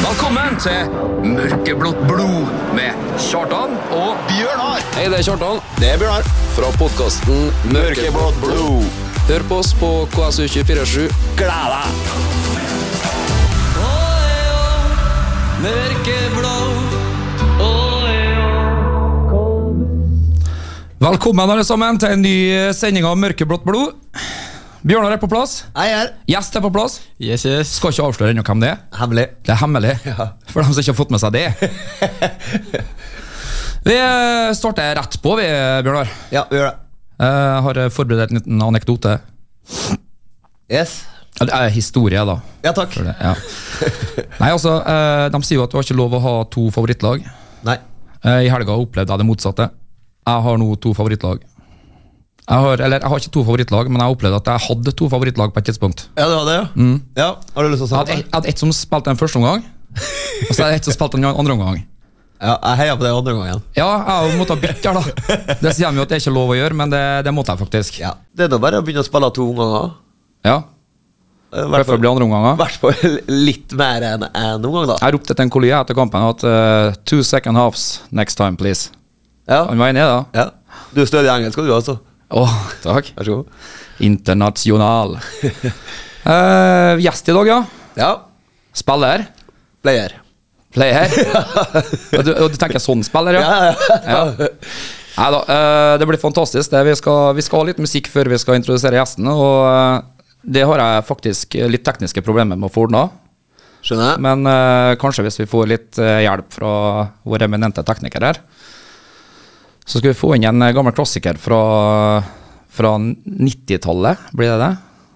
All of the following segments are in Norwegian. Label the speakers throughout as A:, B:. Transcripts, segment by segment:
A: Velkommen til Mørkeblått blod med Kjartan og
B: Bjørnar!
C: Hei, det er Kjartan
B: Det er Bjørnar.
C: fra podkasten
B: Mørkeblått blod.
C: Hør på oss på KSU247.
B: Gled deg!
D: Velkommen alle sammen til en ny eh, sending av Mørkeblått blod. Bjørnar er på plass.
B: Jeg er
D: Gjest er på plass.
E: Yes, yes.
D: Skal ikke avsløre ennå hvem det er.
B: hemmelig.
D: Det er hemmelig for dem som ikke har fått med seg det. Vi eh, starter rett på, vi, Bjørnar.
B: Ja, vi gjør det.
D: Jeg har eh, forberedt en liten anekdote.
B: Yes.
D: Ja, Det er historie, da.
B: Ja, takk.
D: For det, ja. Nei, altså, eh, De sier jo at du har ikke lov å ha to favorittlag.
B: Nei.
D: Eh, I helga opplevde jeg det motsatte. Jeg har nå to favorittlag. Jeg har, eller jeg har ikke to favorittlag, men jeg opplevde at jeg hadde to favorittlag på et tidspunkt.
B: Ja, du hadde det, ja? Ja, Har du lyst til
D: Jeg
B: å si
D: hadde,
B: det?
D: jeg hadde ett som spilte den første omgang, og så hadde jeg ett som spilte den andre omgang.
B: Ja, jeg heia på deg andre gangen.
D: Ja, jeg har jo måttet bytte, her, da. Det sier de jo at det er ikke lov å gjøre, men det, det måtte jeg faktisk.
B: Ja. Det er nå bare å begynne å spille to omganger.
D: Ja,
B: I
D: I hvert fall blir andre
B: i
D: omganger.
B: hvert fall litt mer enn én omgang, da.
D: Jeg ropte til en kollega etter kampen at eh, two second halves next time, please.
B: Ja.
D: Han var enig, da.
B: ja. Du er stødig i engelsk, du altså.
D: Å, takk.
B: Vær så god.
D: Internasjonal. Eh, gjest i dag, ja.
B: Ja.
D: Spiller.
B: Player.
D: Player. og, du, og du tenker sånn spiller, ja?
B: Ja, ja, ja.
D: Nei da, eh, det blir fantastisk. Det. Vi, skal, vi skal ha litt musikk før vi skal introdusere gjestene. Og eh, det har jeg faktisk litt tekniske problemer med å få ordna.
B: Skjønner jeg.
D: Men eh, kanskje hvis vi får litt eh, hjelp fra vår eminente tekniker her, så skal vi få inn en eh, gammel klassiker fra, fra 90-tallet, blir det det?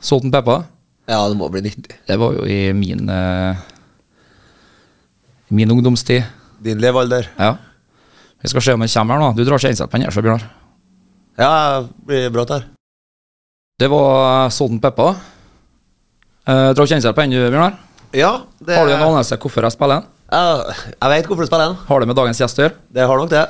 D: Salt and Pepper.
B: Ja, det må bli 90.
D: Det var jo i min, eh, min ungdomstid.
B: Din levealder.
D: Ja. Vi skal se om han kommer her nå. Du drar ikke innsett på den her, så Bjørnar.
B: Ja, jeg blir bra der.
D: Det var Salt and Pepper. Eh, drar ikke innsett på den, du, Bjørnar.
B: Ja, det
D: Har du en anelse hvorfor jeg spiller den?
B: Ja, jeg veit hvorfor du spiller den.
D: Har det med dagens gjest å gjøre?
B: Det har nok det.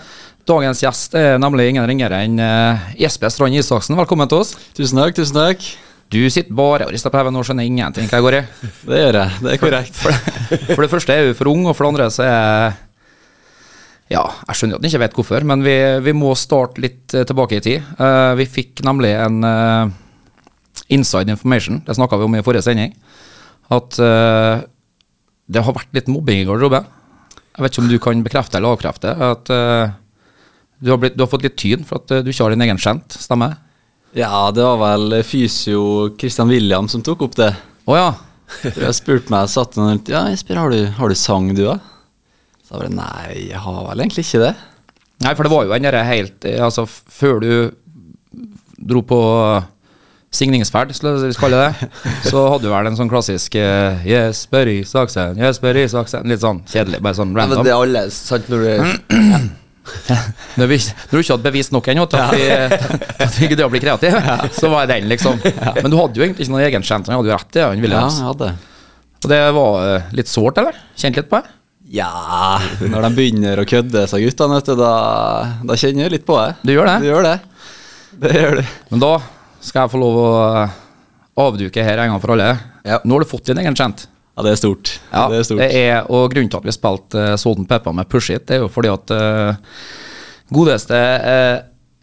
D: Dagens gjest er nemlig ingen ringere enn eh, Jesper Strand Isaksen. Velkommen til oss.
E: Tusen takk, tusen takk.
D: Du sitter bare og rister på hodet og skjønner ingenting hva jeg går i.
E: Det gjør jeg. Det er korrekt.
D: For det første er hun for ung, og for det andre så er jeg Ja, jeg skjønner jo at han ikke vet hvorfor, men vi, vi må starte litt eh, tilbake i tid. Eh, vi fikk nemlig en eh, inside information, det snakka vi om i forrige sending, at eh, det har vært litt mobbing i garderoben. Jeg vet ikke om du kan bekrefte eller avkrefte at eh, du, har blitt, du har fått litt tyn for at eh, du ikke har din egen skjent, stemmer det?
E: Ja, det var vel fysio Christian William som tok opp det.
D: Å ja.
E: For jeg spurte meg, satt han rundt Ja, Jesper, har du, har du sang, du, da? Så jeg bare Nei, jeg har vel egentlig ikke det.
D: Nei, for det var jo den derre helt eh, Altså, f- før du dro på eh, signingsferd, skal vi kalle det, så hadde du vel en sånn klassisk eh, Jesper Isaksen, Jesper Isaksen Litt sånn kjedelig, bare sånn
B: Ja, men
D: random.
B: det er alle, sant, når du
D: Når vi når du ikke hadde bevist nok ennå til at vi, at vi gidder å bli kreative, så var det den, liksom. Men du hadde jo egentlig ikke noen egen skjent, han hadde jo rett i det, han
E: Ja,
D: Williams.
E: jeg hadde det.
D: altså. Og det var eh, litt sårt, eller? Kjent litt på det?
E: Ja, når de begynner å kødde seg, guttene, vet du, da, da kjenner jeg litt på det.
D: Du gjør det?
E: Du gjør det. Det gjør du.
D: Men da skal jeg få lov å eh, avduke her en gang for alle.
B: Ja.
D: Nå har du fått din egen skjent.
E: Ja, det er stort.
D: Ja,
E: det er stort.
D: og grunnen til at vi spilte uh, Salt and Pepper med Push It, det er jo fordi at eh, godeste eh,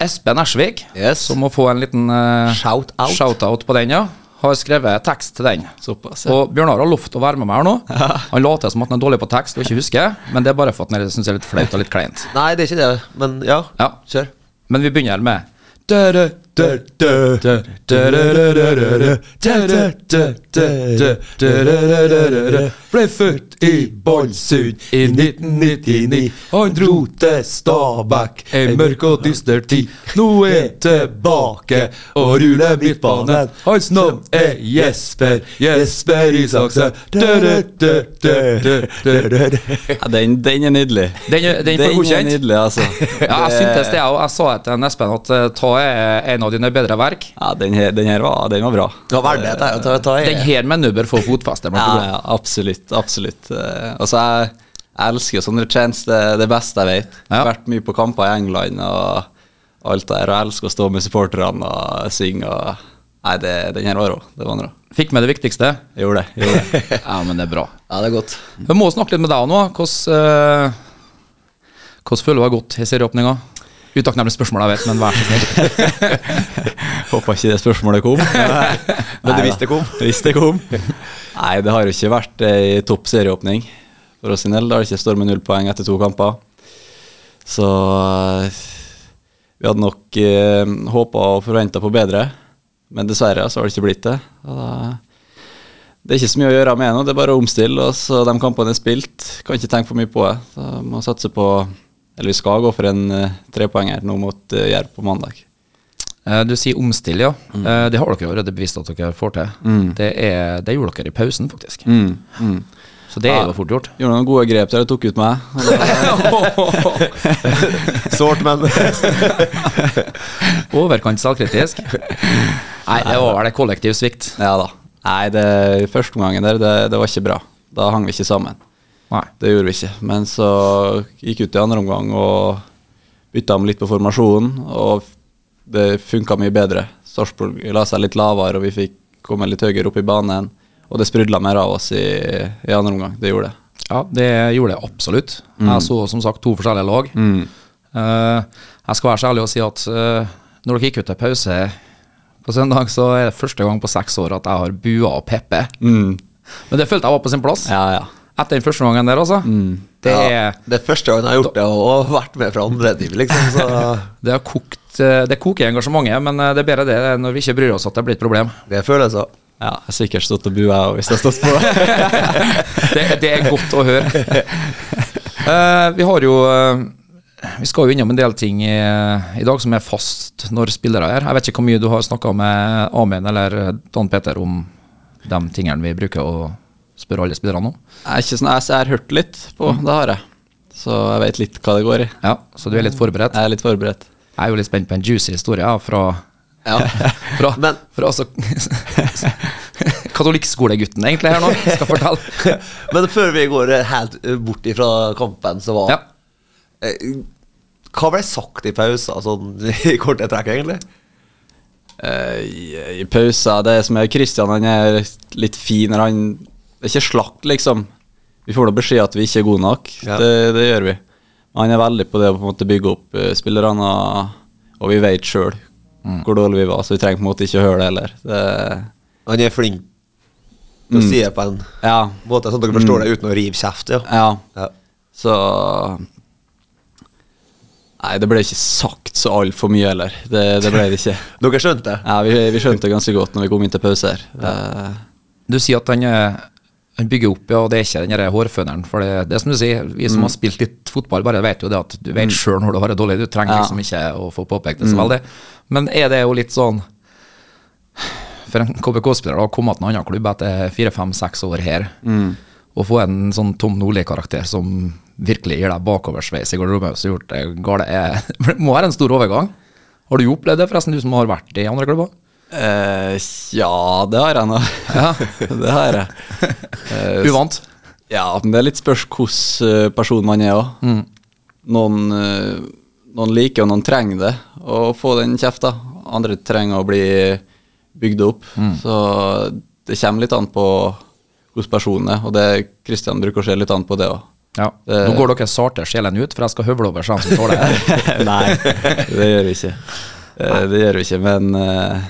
D: Espen Ersvik,
B: Yes.
D: som må få en liten eh,
B: Shout-out.
D: shout-out på den, ja, har skrevet tekst til den.
E: Såpass, ja.
D: Og Bjørnar har lovt å være med meg her nå. Han later som at han er dårlig på tekst og ikke husker, men det er bare for at han syns det er litt flaut og litt kleint.
B: Nei, det er ikke det, men ja.
D: Ja,
B: Kjør.
D: Men vi begynner med Dø-dø, dø, dø, dø, dø, dø, dø, dø, dø, dø, dø, dø, dø, dø, dø, dø, dø, dø, dø, dø, dø.
F: Ble født i Bålsund i 1999. Han dro til Stabæk ei mørk og dyster tid. Nå er han tilbake og ruler midtbanen. Hans navn er Jesper, Jesper Isaksen. Dø-dø-dø-dø-dø-dø.
E: Ja, den, den er nydelig.
D: Den er- den får godkjent.
E: er nydelig, altså.
D: Ja, jeg syntes det, jeg òg. Jeg sa til Espen at eh, ta er en av dine bedre verk.
E: Ja, den her, den her var, den var bra.
B: Ja, hva er det der? Ta, ta,
D: Den
B: ta,
D: her med Nubber får fotfeste. blant
E: Ja,
D: annet.
E: ja, absolutt. Absolutt. Eh, altså, jeg, jeg elsker jo sånne chants. Det er det beste jeg vet. Jeg
D: Ja.
E: har vært mye på kamper i England og alt der, og jeg elsker å stå med supporterne og synge. og Nei, det, den her var rå. Det var en rå.
D: Fikk med det viktigste?
E: Jeg gjorde det. Jeg gjorde det.
D: Ja, men det er bra.
B: Ja, det er godt.
D: Vi må snakke litt med deg nå. Hvordan, eh, hvordan føler du deg godt i serieåpninga? Utakknemlig spørsmål, jeg vet, men vær så snill.
E: Håpa ikke det spørsmålet kom. Men
B: du visste det kom.
E: Hvis det kom. Nei, det har jo ikke vært ei topp serieåpning for oss sin del. Det har ikke stormet null poeng etter to kamper. Så eh, vi hadde nok eh, håpa og forventa på bedre, men dessverre så har det ikke blitt det. Og da, det er ikke så mye å gjøre med nå, det er bare å omstille. Og så de kampene er spilt, kan ikke tenke for mye på det. Så må satse på Eller vi skal gå for en eh, trepoenger nå mot eh, Jerv på mandag.
D: Eh, Du sier omstille, ja. Eh, Det har dere jo allerede bevist at dere får til. Det, er, det gjorde dere i pausen, faktisk. Så det er jo fort gjort.
E: Gjorde noen gode grep der det tok ut meg. Og da-
B: Sårt, men
D: Overkant selvkritisk. Nei, det var vel en kollektiv svikt.
E: Ja da. Nei, det første omgangen der, det, det var ikke bra. Da hang vi ikke sammen.
D: Nei.
E: Det gjorde vi ikke. Men så gikk ut i andre omgang og bytta om litt på formasjonen, og det funka mye bedre. Sarpsborg la seg litt lavere, og vi fikk komme litt høyere opp i banen. Og det sprudla mer av oss i, i andre omgang. Det gjorde det.
D: Ja, det gjorde jeg absolutt. Jeg så som sagt to forskjellige lag. Eh, jeg skal være så ærlig og si at eh, når dere gikk ut til pause på søndag, så er det første gang på seks år at jeg har bua og Peppe. Men det følte jeg var på sin plass.
E: Ja, ja.
D: Etter den første gangen der, altså. Det,
B: ja,
D: er,
B: det er første gangen jeg har gjort det, og vært med fra andre team, liksom. Så
D: det har kokt eh, Det koker i engasjementet, men eh, det er bedre det når vi ikke bryr oss at det blir et problem.
B: det er følelser.
E: ja jeg har sikkert stått og bua jeg, hvis jeg hadde stått på.
D: Det, det er godt å høre. Eh, vi har jo eh, Vi skal jo innom en del ting i, i dag som er fast når spillere er her. Jeg vet ikke hvor mye du har snakka med Amund eller Dan Peter om de tingene vi bruker å spørre alle spillerne om.
E: Jeg, er ikke sånn, jeg, jeg har hørt litt på, det har jeg. Så jeg vet litt hva det går i.
D: Ja, Så du er litt forberedt?
E: Jeg er litt forberedt.
D: Jeg er jo litt spent på en juicy historie ja, fra ja. Fra,
B: Men-
D: fra altså Katolikkskolegutten, egentlig, her nå. Skal fortelle.
B: Men før vi går eh, helt eh, bort ifra kampen som var
D: Ja.
B: eh, Hva ble sagt i pausen, sånn i korte trekk, egentlig?
E: Eh, i, I pausa Det som er Kristian, han er litt fin når han Det er ikke slakt, liksom. Vi får da beskjed at vi ikke er gode nok.
B: Ja.
E: Det, det gjør vi. Men han er veldig på det å på en måte bygge opp eh, spillerne, og, og vi vet sjøl hvor dårlige vi var, så vi trenger på en måte ikke å høre det heller. Det,
B: Han er flink til å si det på en
E: ja,
B: måte sånn at dere forstår det uten å rive kjeft. Ja.
E: ja.
B: Ja.
E: Så Nei, det ble ikke sagt så altfor mye heller. Det, det ble det ikke.
B: Dere skjønte det?
E: Ja, vi, vi skjønte det ganske godt når vi kom inn til pause her. Eh,
D: Du sier at han, eh, han bygger opp, ja, og det er ikke den der hårføneren. For det, det er som du sier, vi
E: Mm.
D: som har spilt litt fotball, bare vet jo det at du vet sjøl når du har det dårlig. Du trenger
E: Ja.
D: liksom
E: Mm.
D: ikke å få påpekt det så veldig. Men er det jo litt sånn For en KBK-spiller da, å komme til en annen klubb etter fire-fem-seks år her,
E: Mm.
D: og få en sånn Tom Nordli-karakter som virkelig gir deg bakoversveis i garderoben, så gjort det gale, er, det må være en stor overgang. Har du opplevd det, forresten, du som har vært i andre klubber?
E: Eh, ja, det har jeg nå.
D: Ja.
E: det har jeg. Eh,
D: Uvant?
E: ja, men det er litt spørs hvilken person man er òg. Noen, eh, noen liker og noen trenger det, å få den kjefta. Andre trenger å bli bygd opp. Så det kommer litt an på hvordan personen er, og det Kristian bruker å se litt an på det òg.
D: Ja.
E: Det-
D: Nå går dere sarte sjelen ut, for jeg skal høvle over sånn som tåler det.
E: Nei, det gjør vi ikke. Eh, Det gjør vi ikke, men eh,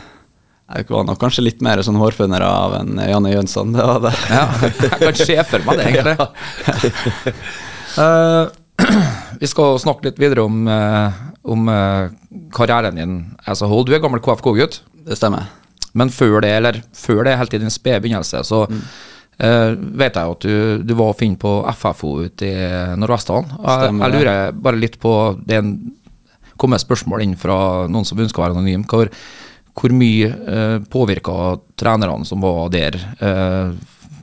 E: jeg var nok kanskje litt mer sånn hårfønere av en Janne Jønsson. Det var det.
D: Ja, jeg kan se for meg det, egentlig. Eh, vi skal snakke litt videre om, eh, om eh, karrieren din as a whole. Du er gammel KFK-gutt,
E: Det stemmer.
D: men før det, eller før det helt i din spede begynnelse, så
E: Mm.
D: eh, vet jeg jo at du, du var å finne på FFO ute i Nordvestland. Og Jeg,
E: Stemmer
D: jeg
E: det.
D: lurer bare litt på Det er en, kommer et spørsmål inn fra noen som ønsker å være anonym. Hvor, hvor mye eh, påvirka trenerne som var der, eh,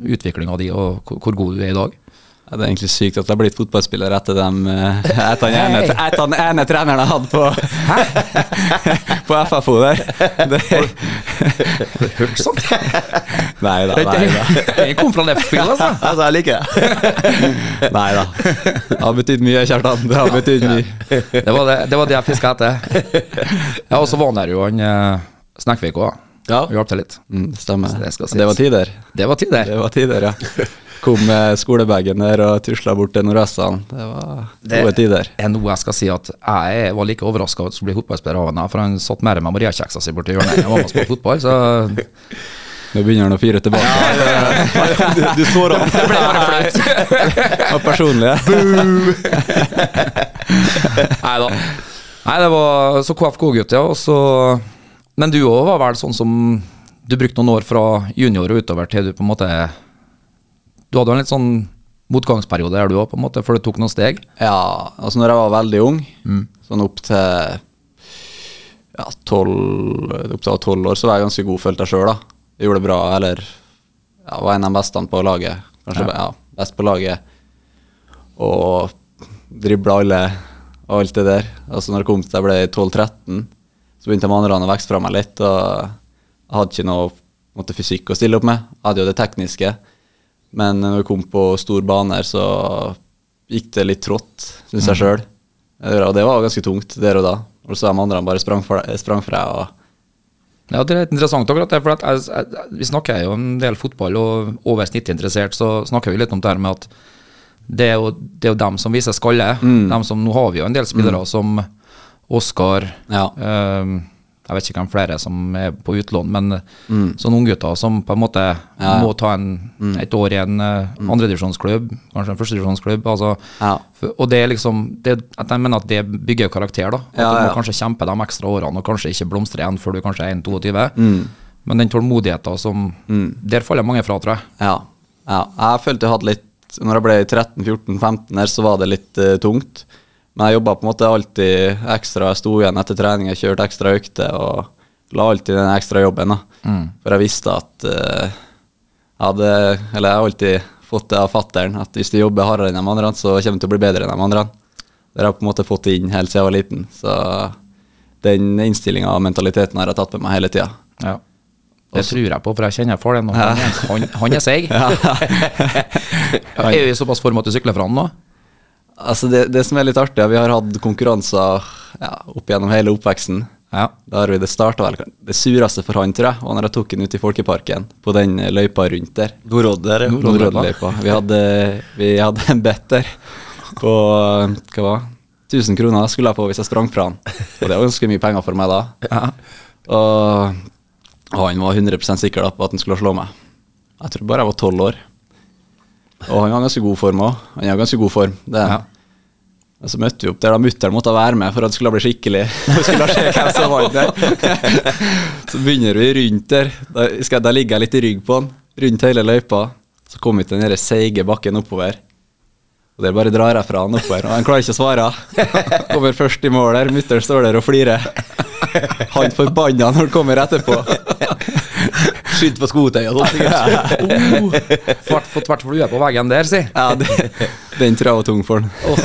D: utviklinga di, og hvor, hvor god du er i dag?
E: Ja, det er egentlig sykt at jeg har blitt fotballspiller etter dem eh, Etter han ene, etter han ene treneren jeg hadde på, på FFO der. Det,
D: Har du hørt sånt?
E: nei da, nei da.
D: Jeg kom fra left field, altså.
B: Altså, jeg liker det.
E: Nei da. Det har betydd mye, Kjartan. Det har betydd mye.
D: Det var det, det, var det jeg fiska etter. Ja, og så var han der jo han eh, Snekkvik òg.
E: Ja.
D: og hjalp til litt.
E: Mm, stemmer.
D: Så det skal
E: det var
D: sies.
E: tider.
D: Det var tid,
E: Det
D: det.
E: var tider, ja. Kom med skolebagen der og tusla bort til Nordvestland. Det var
D: Det-
E: gode tider.
D: er noe jeg skal si at jeg var like overraska over at jeg skulle bli fotballspiller av henne, for han satt mer med Maria-kjeksa si borti hjørnet. Jeg var med og spilte fotball, så
E: Nå begynner han å fyre tilbake.
B: Du, du sår ham.
D: det ble bare flaut.
E: Og personlig.
D: Nei da. Nei, det var så KFK-gutt, ja. Og så, men du òg var vel sånn som Du brukte noen år fra junior og utover til du på en måte Du hadde jo en litt sånn motgangsperiode der du òg, på en måte, for du tok noen steg.
E: Ja, altså når jeg var veldig ung, sånn opp til ja, 12, opp til jeg var 12 år, så var jeg ganske god, følte jeg sjøl. Jeg gjorde det bra, eller ja, var en av de beste på laget. Kanskje ja. best på laget. Og dribla alle og alt det der. Altså når det kom til jeg ble 12-13, så begynte de andre å vokse fra meg litt. Og jeg hadde ikke noe på en måte, fysikk å stille opp med. Jeg hadde jo det tekniske. Men når vi kom på stor bane her, så gikk det litt trått, syns jeg sjøl. Og det var ganske tungt der og da. Og så de andre bare sprang fra, sprang fra og
D: Ja, Det er litt interessant akkurat det, for at jeg, jeg, vi snakker jo en del fotball, og over snittet interessert, så snakker vi litt om det her med at det er jo, det er jo dem som viser skalle.
E: Mm.
D: Dem som, nå har vi jo en del spillere som Oskar
E: Ja.
D: eh, Jeg vet ikke hvem flere som er på utlån, men sånne unggutter som på en måte
E: Mm. Ja. Mm.
D: må ta en, et år i en uh, andredivisjonsklubb, kanskje en førstedivisjonsklubb. Altså,
E: Ja.
D: for- Og det er liksom det, at Jeg mener at det bygger karakter. da At
E: Ja,
D: Du
E: ja.
D: må kanskje kjempe de ekstra årene og kanskje ikke blomstre igjen før du kanskje er 1-22.
E: Mm.
D: Men den tålmodigheten som Der faller mange fra, tror jeg.
E: Ja. ja. Jeg følte jeg hadde litt Når jeg ble 13-14-15 her, så var det litt eh, tungt. Men jeg jobba på en måte alltid ekstra. Jeg sto igjen etter trening, jeg kjørte ekstra økter og la alltid den ekstra jobben. da. For jeg visste at eh, jeg hadde Eller jeg har alltid fått det av fattern at hvis du jobber hardere enn de andre, så kommer du til å bli bedre enn de andre. Det har jeg på en måte fått inn helt siden jeg var liten. Så den innstillinga og mentaliteten har jeg tatt med meg hele tida.
D: Ja. Det tror jeg på, for jeg kjenner faren din. og Han, er- han, han er seig. er du i såpass form at du sykler fra han nå?
E: Altså det, det som er litt artig, er at vi har hatt konkurranser ja, opp gjennom hele oppveksten.
D: Ja.
E: Da har vi det starta vel Det sureste for han, tror jeg, var når jeg tok han ut i Folkeparken, på den løypa rundt der.
B: Nordodde der, ja.
E: Nordrødløypa. Vi hadde, vi hadde en bet der på hva var det? 1000 kroner skulle jeg få hvis jeg sprang fra han. Og det var ganske mye penger for meg da. Og han var 100 sikker da på at han skulle slå meg. Jeg tror bare jeg var 12 år. Og han var ganske god form òg. Han er i ganske god form. Det er han.
D: Ja.
E: Og så møtte vi opp der da mutter'n måtte være med for at det skulle bli skikkelig. Hun skulle se hvem som vant der. Så begynner vi rundt der. Da, skal, da ligger jeg litt i rygg på han, rundt hele løypa. Så kom vi til den der seige bakken oppover. Og der bare drar jeg fra han oppover, og han klarer ikke å svare. Kommer først i mål der, mutter'n står der og flirer. Han forbanna når han kommer etterpå.
B: Skydd på skotøyet og sånt. sikkert.
D: Fått fått hvert flue på veggen der, si.
E: Ja, det, Den tror jeg var tung for han.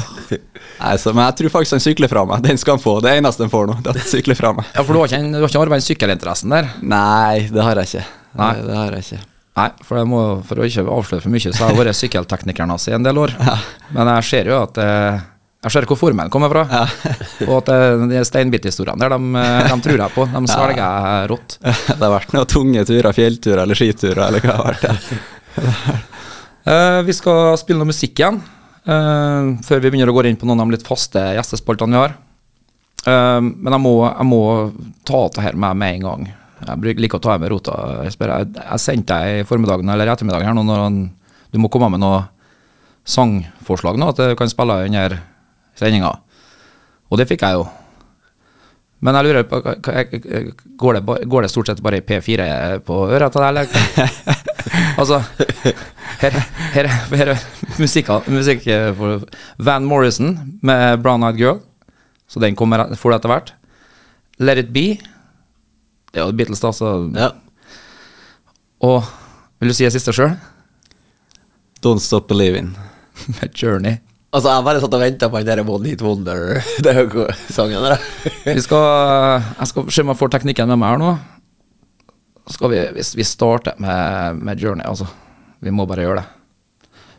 E: Nei, så, men jeg tror faktisk han sykler fra meg. Den skal han få. Det er eneste han får nå. Det er at han sykler fra meg.
D: Ja, For du har ikke, en- du har ikke arvet den sykkelinteressen der?
E: Nei, det har jeg ikke.
D: Nei.
E: Det, det har jeg ikke.
D: Nei, for, jeg må, for å ikke avsløre for mye, så har jeg vært sykkelteknikeren hans i en del år. Men jeg ser jo at eh, Jeg ser hvor formen kommer fra. Og at eh, de steinbithistoriene der, de, eh, de tror jeg på. De svelger jeg rått.
E: Det har vært noen tunge turer, fjellturer eller skiturer eller hva det har vært.
D: Eh, vi skal spille noe musikk igjen, eh, før vi begynner å gå inn på noen av de litt faste gjestespaltene vi har. Eh, men jeg må, jeg må ta av det her med med en gang. Jeg bruk- liker å ta av meg rota. Jesper. Jeg, jeg sendte deg i formiddagen eller ettermiddagen her nå når han, du må komme med noe sangforslag nå, at du kan spille under sendinga. Og det fikk jeg jo. Men jeg lurer på, hva- hva- går det, ba- går det stort sett bare i P4 på øret til deg, eller? altså, her, her, her er musikk, musikk eh, for Van Morrison med Brown Eyed Girl, så den kommer, et- får du etter hvert. Let It Be, det er jo Beatles da, så...
B: Ja.
D: Og, vil du si det siste selv?
E: Don't stop believing.
D: Med Journey.
B: Altså, jeg bare satt og venta på den der One Hit Wonder Det er jo god- sangen der. da.
D: Vi skal, jeg skal se om jeg får teknikken med meg her nå. Så Skal vi, hvis vi starter med, med Journey, altså. Vi må bare gjøre det.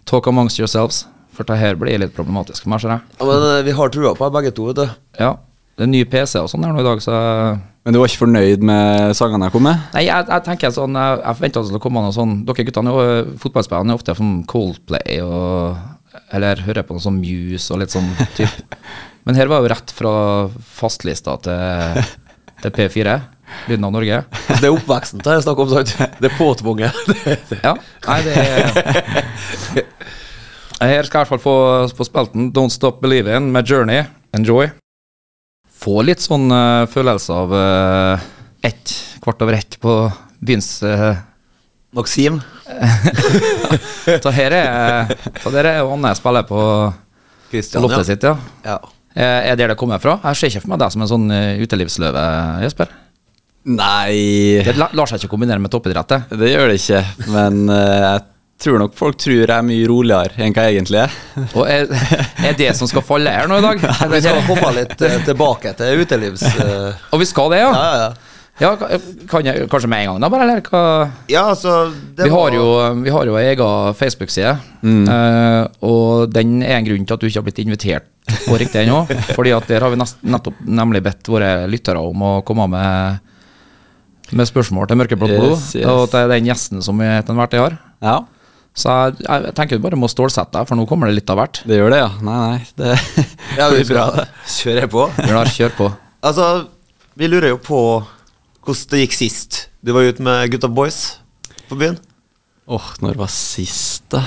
D: Talk amongst yourselves, for det her blir litt problematisk for meg, ser jeg.
B: Men eh, vi har trua på det, begge to, vet du.
D: Ja, det er ny PC og sånn her nå i dag, så jeg
E: Men du var ikke fornøyd med sangene jeg kom med?
D: Nei, jeg, jeg tenker sånn Jeg, jeg forventa det skulle komme noe sånn Dere guttene er jo fotballspillerne er ofte som Coldplay og Eller hører på noe sånn Muse og litt sånn typ. Men her var jo rett fra fastlista til, til P4, Lyden av Norge.
B: Altså, det er oppveksten til jeg snakker om, sant? Det er påtvunget. Det- det-
D: Ja, nei, det er Her skal jeg i hvert fall få, få spilt den. Don't Stop Believing med Journey. Enjoy. Få litt sånn eh, følelse av eh, ett, kvart over ett på byens eh,
B: Maxim.
D: Så her er Så der er jo Anne spiller på
B: Christian,
D: loftet sitt, ja.
B: ja.
D: Eh, Er det der det kommer fra? Jeg ser ikke for meg deg som en sånn eh, utelivsløve, Jesper.
E: Nei,
D: Det la- lar seg ikke kombinere med toppidrett, det.
E: det gjør det ikke. Men eh, jeg tror nok folk tror jeg er mye roligere enn hva jeg egentlig er.
D: Og er, er det som skal falle her nå i dag?
B: Men Vi skal komme litt eh, tilbake til utelivs... eh,
D: Og vi skal det,
B: ja,
D: ja?
B: ja, ja.
D: ja ka- eh, kan jeg, kanskje med en gang, da, bare? Eller hva?
B: Ja, altså det
D: Vi
B: var-
D: har jo Vi har jo ei ega Facebook-side,
E: Mm.
D: eh, og den er en grunn til at du ikke har blitt invitert på riktig ennå. Fordi at der har vi nest, nettopp nemlig bedt våre lyttere om å komme med med spørsmål til Mørkeblått blod,
E: Yes, yes.
D: og til den gjesten som vi til enhver tid har.
E: Ja,
D: Så jeg, jeg tenker du bare må stålsette deg, for nå kommer det litt av hvert.
E: det gjør det, ja. Nei, nei. Det,
B: Ja,
E: det
B: vi
E: blir bra,
B: skal-
E: det.
B: Kjører jeg på?
D: Bjørnar, kjør på.
B: Altså, vi lurer jo på hvordan det gikk sist du var ute med gutta boys på byen.
E: Åh, når var sist, da?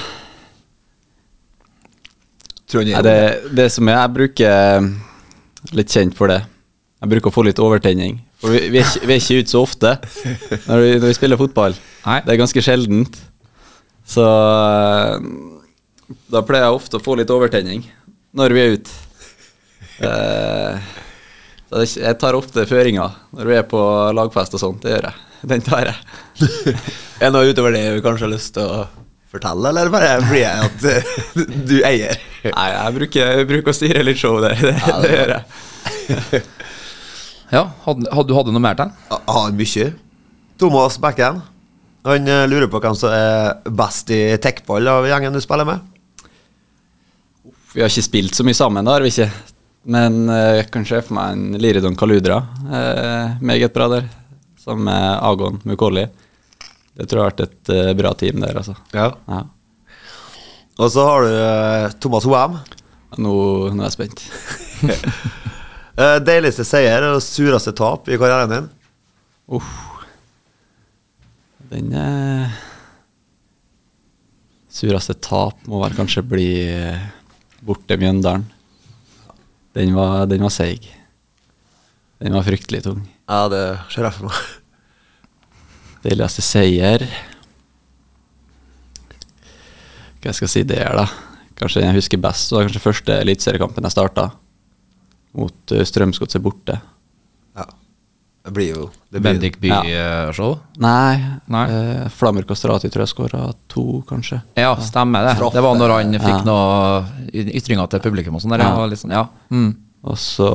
B: Tror
E: Nei, det, det som er, jeg bruker litt kjent for det. Jeg bruker å få litt overtenning. For vi, vi, er, ikke- vi er ikke ute så ofte når vi, når vi spiller fotball.
D: Nei.
E: Det er ganske sjeldent. Så eh, da pleier jeg ofte å få litt overtenning når vi er ute. Eh, så det er ikke- jeg tar ofte føringer når vi er på lagfest og sånt. Det gjør jeg. Den tar jeg.
B: Er det noe utover det du kanskje har lyst til å fortelle, eller bare blir jeg at eh, du eier?
E: Nei, jeg bruker, jeg bruker å styre litt show der. Det, det, det gjør jeg.
D: Ja, hadde, hadde du hadde noe mer til den?
B: Ja, Han mye. Thomas Bekken. Han eh, lurer på hvem som er best i tekball av gjengen du spiller med.
E: Vi har ikke spilt så mye sammen, da har vi ikke. Men eh, jeg kan se for meg en Liridon Kaludra. eh, meget bra der. Sammen med Agon Mukoli. Det tror jeg har vært et eh, bra team der, altså.
B: Ja.
E: Ja.
B: Og så har du eh, Thomas Hoem.
E: Nå, nå er jeg spent.
B: Eh, Deiligste seier og sureste tap i karrieren din.
E: Uff. Den eh, sureste tap må vel kanskje bli eh, borte Mjøndalen. Den var, den var seig. Den var fryktelig tung.
B: Ja, det ser jeg for meg.
E: Deiligste seier Hva skal jeg si det er, da? Kanskje den jeg husker best, var kanskje første eliteseriekampen jeg starta. Mot eh, Strømsgodset borte.
B: Ja. Det blir jo det blir-
D: Bendik eh, Bye-show?
E: Nei,
D: Nei.
E: Eh, Flammer Kastrati tror jeg skåra to, kanskje.
D: Ja. stemmer det. Det var når han fikk noen ytringer til publikum og sånn. der,
E: Ja.
D: og Litt sånn, ja. Mm.
E: Og så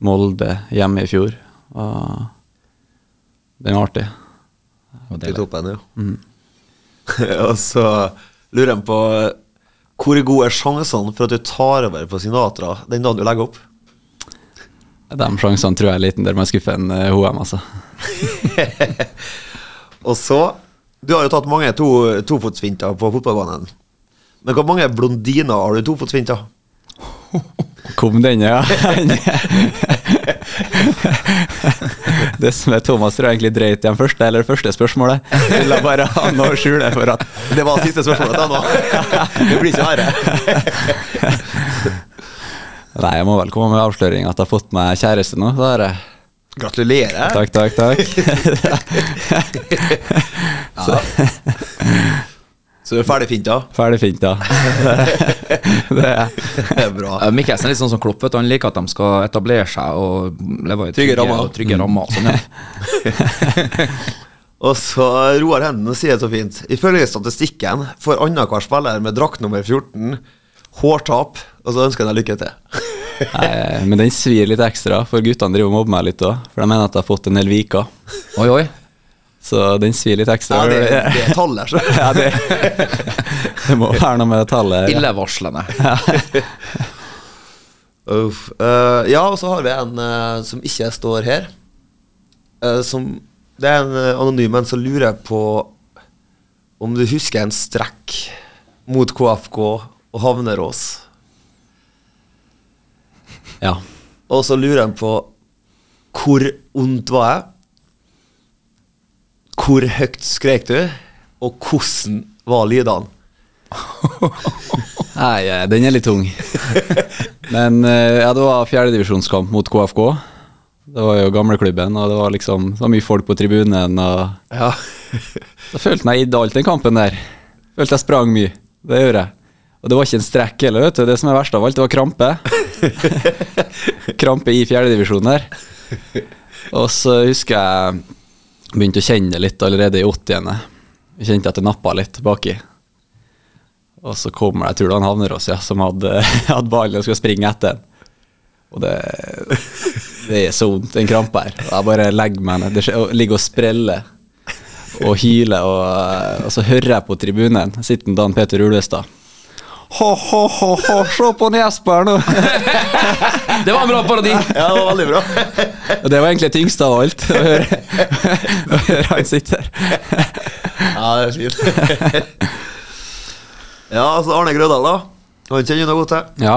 E: Molde hjemme i fjor. Og den var artig.
D: Og
B: Til
D: det- Mm.
B: toppen, jo. og så lurer jeg på eh, hvor gode er sjansene for at du tar over på Sinatra den dagen du legger opp?
E: De sjansene tror jeg er liten der man skuffer en eh, HM, altså.
B: Og så Du har jo tatt mange to, tofotsfinter på fotballbanen. Men hvor mange blondiner har du tofotsfinter?
E: Kom denne, ja. det som er Thomas tror jeg egentlig dreit i den første, eller det første spørsmålet. Ville bare ha noe å skjule for at
B: Det var siste spørsmålet da nå. Det blir ikke verre.
E: Nei, jeg må vel komme med avsløring at jeg har fått meg kjæreste nå. Da er det.
B: Gratulerer.
E: Takk, takk, takk.
B: Så du er ferdig finta.
E: Ferdig fint, da. det er jeg.
B: Det er bra.
D: Ja, Mikkelsen er litt sånn som Klopp. Vet du. Han liker at de skal etablere seg og leve i
B: Trygge rammer.
D: og trygge rammer. og Sånn, ja.
B: Og så Roar Henden sier det så fint. Ifølge statistikken får annenhver spiller med drakt nummer 14 hårtap, og så ønsker jeg deg lykke til.
E: Nei, eh, Men den svir litt ekstra, for guttene driver og mobber meg litt òg. For de mener at jeg har fått en hel vika.
D: Oi, oi.
E: Så den svir litt
B: Ja,
E: ekstra.
B: det, det er tallet, så.
E: Ja, det, det må være noe med tallet.
D: Illevarslende.
B: Uff. Eh, ja, og så har vi en eh, som ikke står her. Eh, som, det er en eh, anonym en som lurer på om du husker en strekk mot KFK og Havnerås.
E: Ja.
B: Og så lurer han på hvor ondt var jeg? Hvor høyt skrek du? Og hvordan var lydene?
E: Nei, eh, den er litt tung. Men eh, ja, det var fjerdedivisjonskamp mot KFK. Det var jo gamleklubben, og det var liksom det var mye folk på tribunen. Og
B: Ja.
E: da følte jeg gitt alt den kampen der. Følte jeg sprang mye. Det gjorde jeg. Og det var ikke en strekk heller, vet du. Det som er verst av alt, det var krampe. krampe i fjerdedivisjon der. Og så husker jeg begynte å kjenne det litt allerede i åttiende. Jeg Kjente at det nappa litt baki. Og så kommer det, jeg tror det var en Havnerås ja, som hadde, hadde ballen og skulle springe etter den. Og det, det er så vondt, den krampa her. Og jeg bare legger meg ned. Det skjer- og Ligger og spreller og hyler. Og, og så hører jeg på tribunen, sitter Dan Peter Ulvestad. Ha, ha, ha, ha, se på han Jesper nå!
D: Det var en bra parodi!
B: ja, det var veldig bra.
E: Og det var egentlig det tyngste av alt, å høre, å høre han sitte her.
B: Ja, det er fint. ja, altså Arne Grødal, da. Han kjenner du godt til.
E: Ja.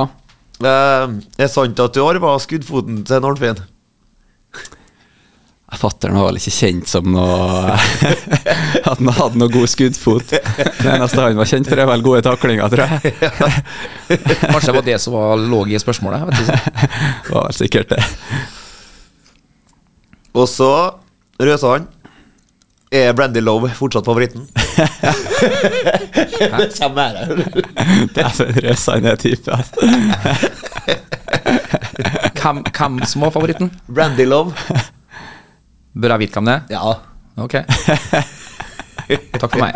B: Eh, er sant at du arva skuddfoten til Arnfinn?
E: Fatter'n var vel ikke kjent som noe At han hadde noe god skuddfot. Det eneste han var kjent for, er vel gode taklinger, tror jeg.
D: Kanskje det var det som var lå i spørsmålet. jeg Vet ikke.
E: Det var vel sikkert det.
B: Og så røsa han. Er Brandy Love fortsatt favoritten? det kommer her.
E: Dæven røsa han er type. altså.
D: Hvem, hvem som var favoritten?
B: Brandy Love.
D: Bør jeg vite hvem det er?
B: Ja.
D: Ok. Takk for meg.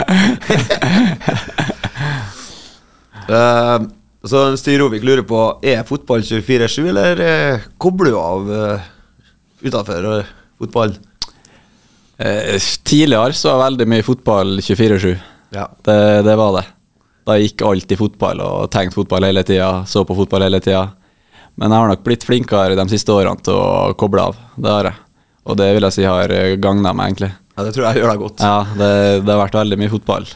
B: Eh, så Styr Rovik lurer på er fotball 24-7, eller eh, kobler du av uh, utafor fotballen?
E: Eh, tidligere så var veldig mye fotball 24-7.
B: Ja.
E: Det, det var det. Da gikk alt i fotball og tenkte fotball hele tida, så på fotball hele tida. Men jeg har nok blitt flinkere de siste årene til å koble av. Det har jeg. Og det vil jeg si har gagna meg, egentlig.
B: ja, det tror jeg gjør deg godt.
E: Ja, det, det har vært veldig mye fotball.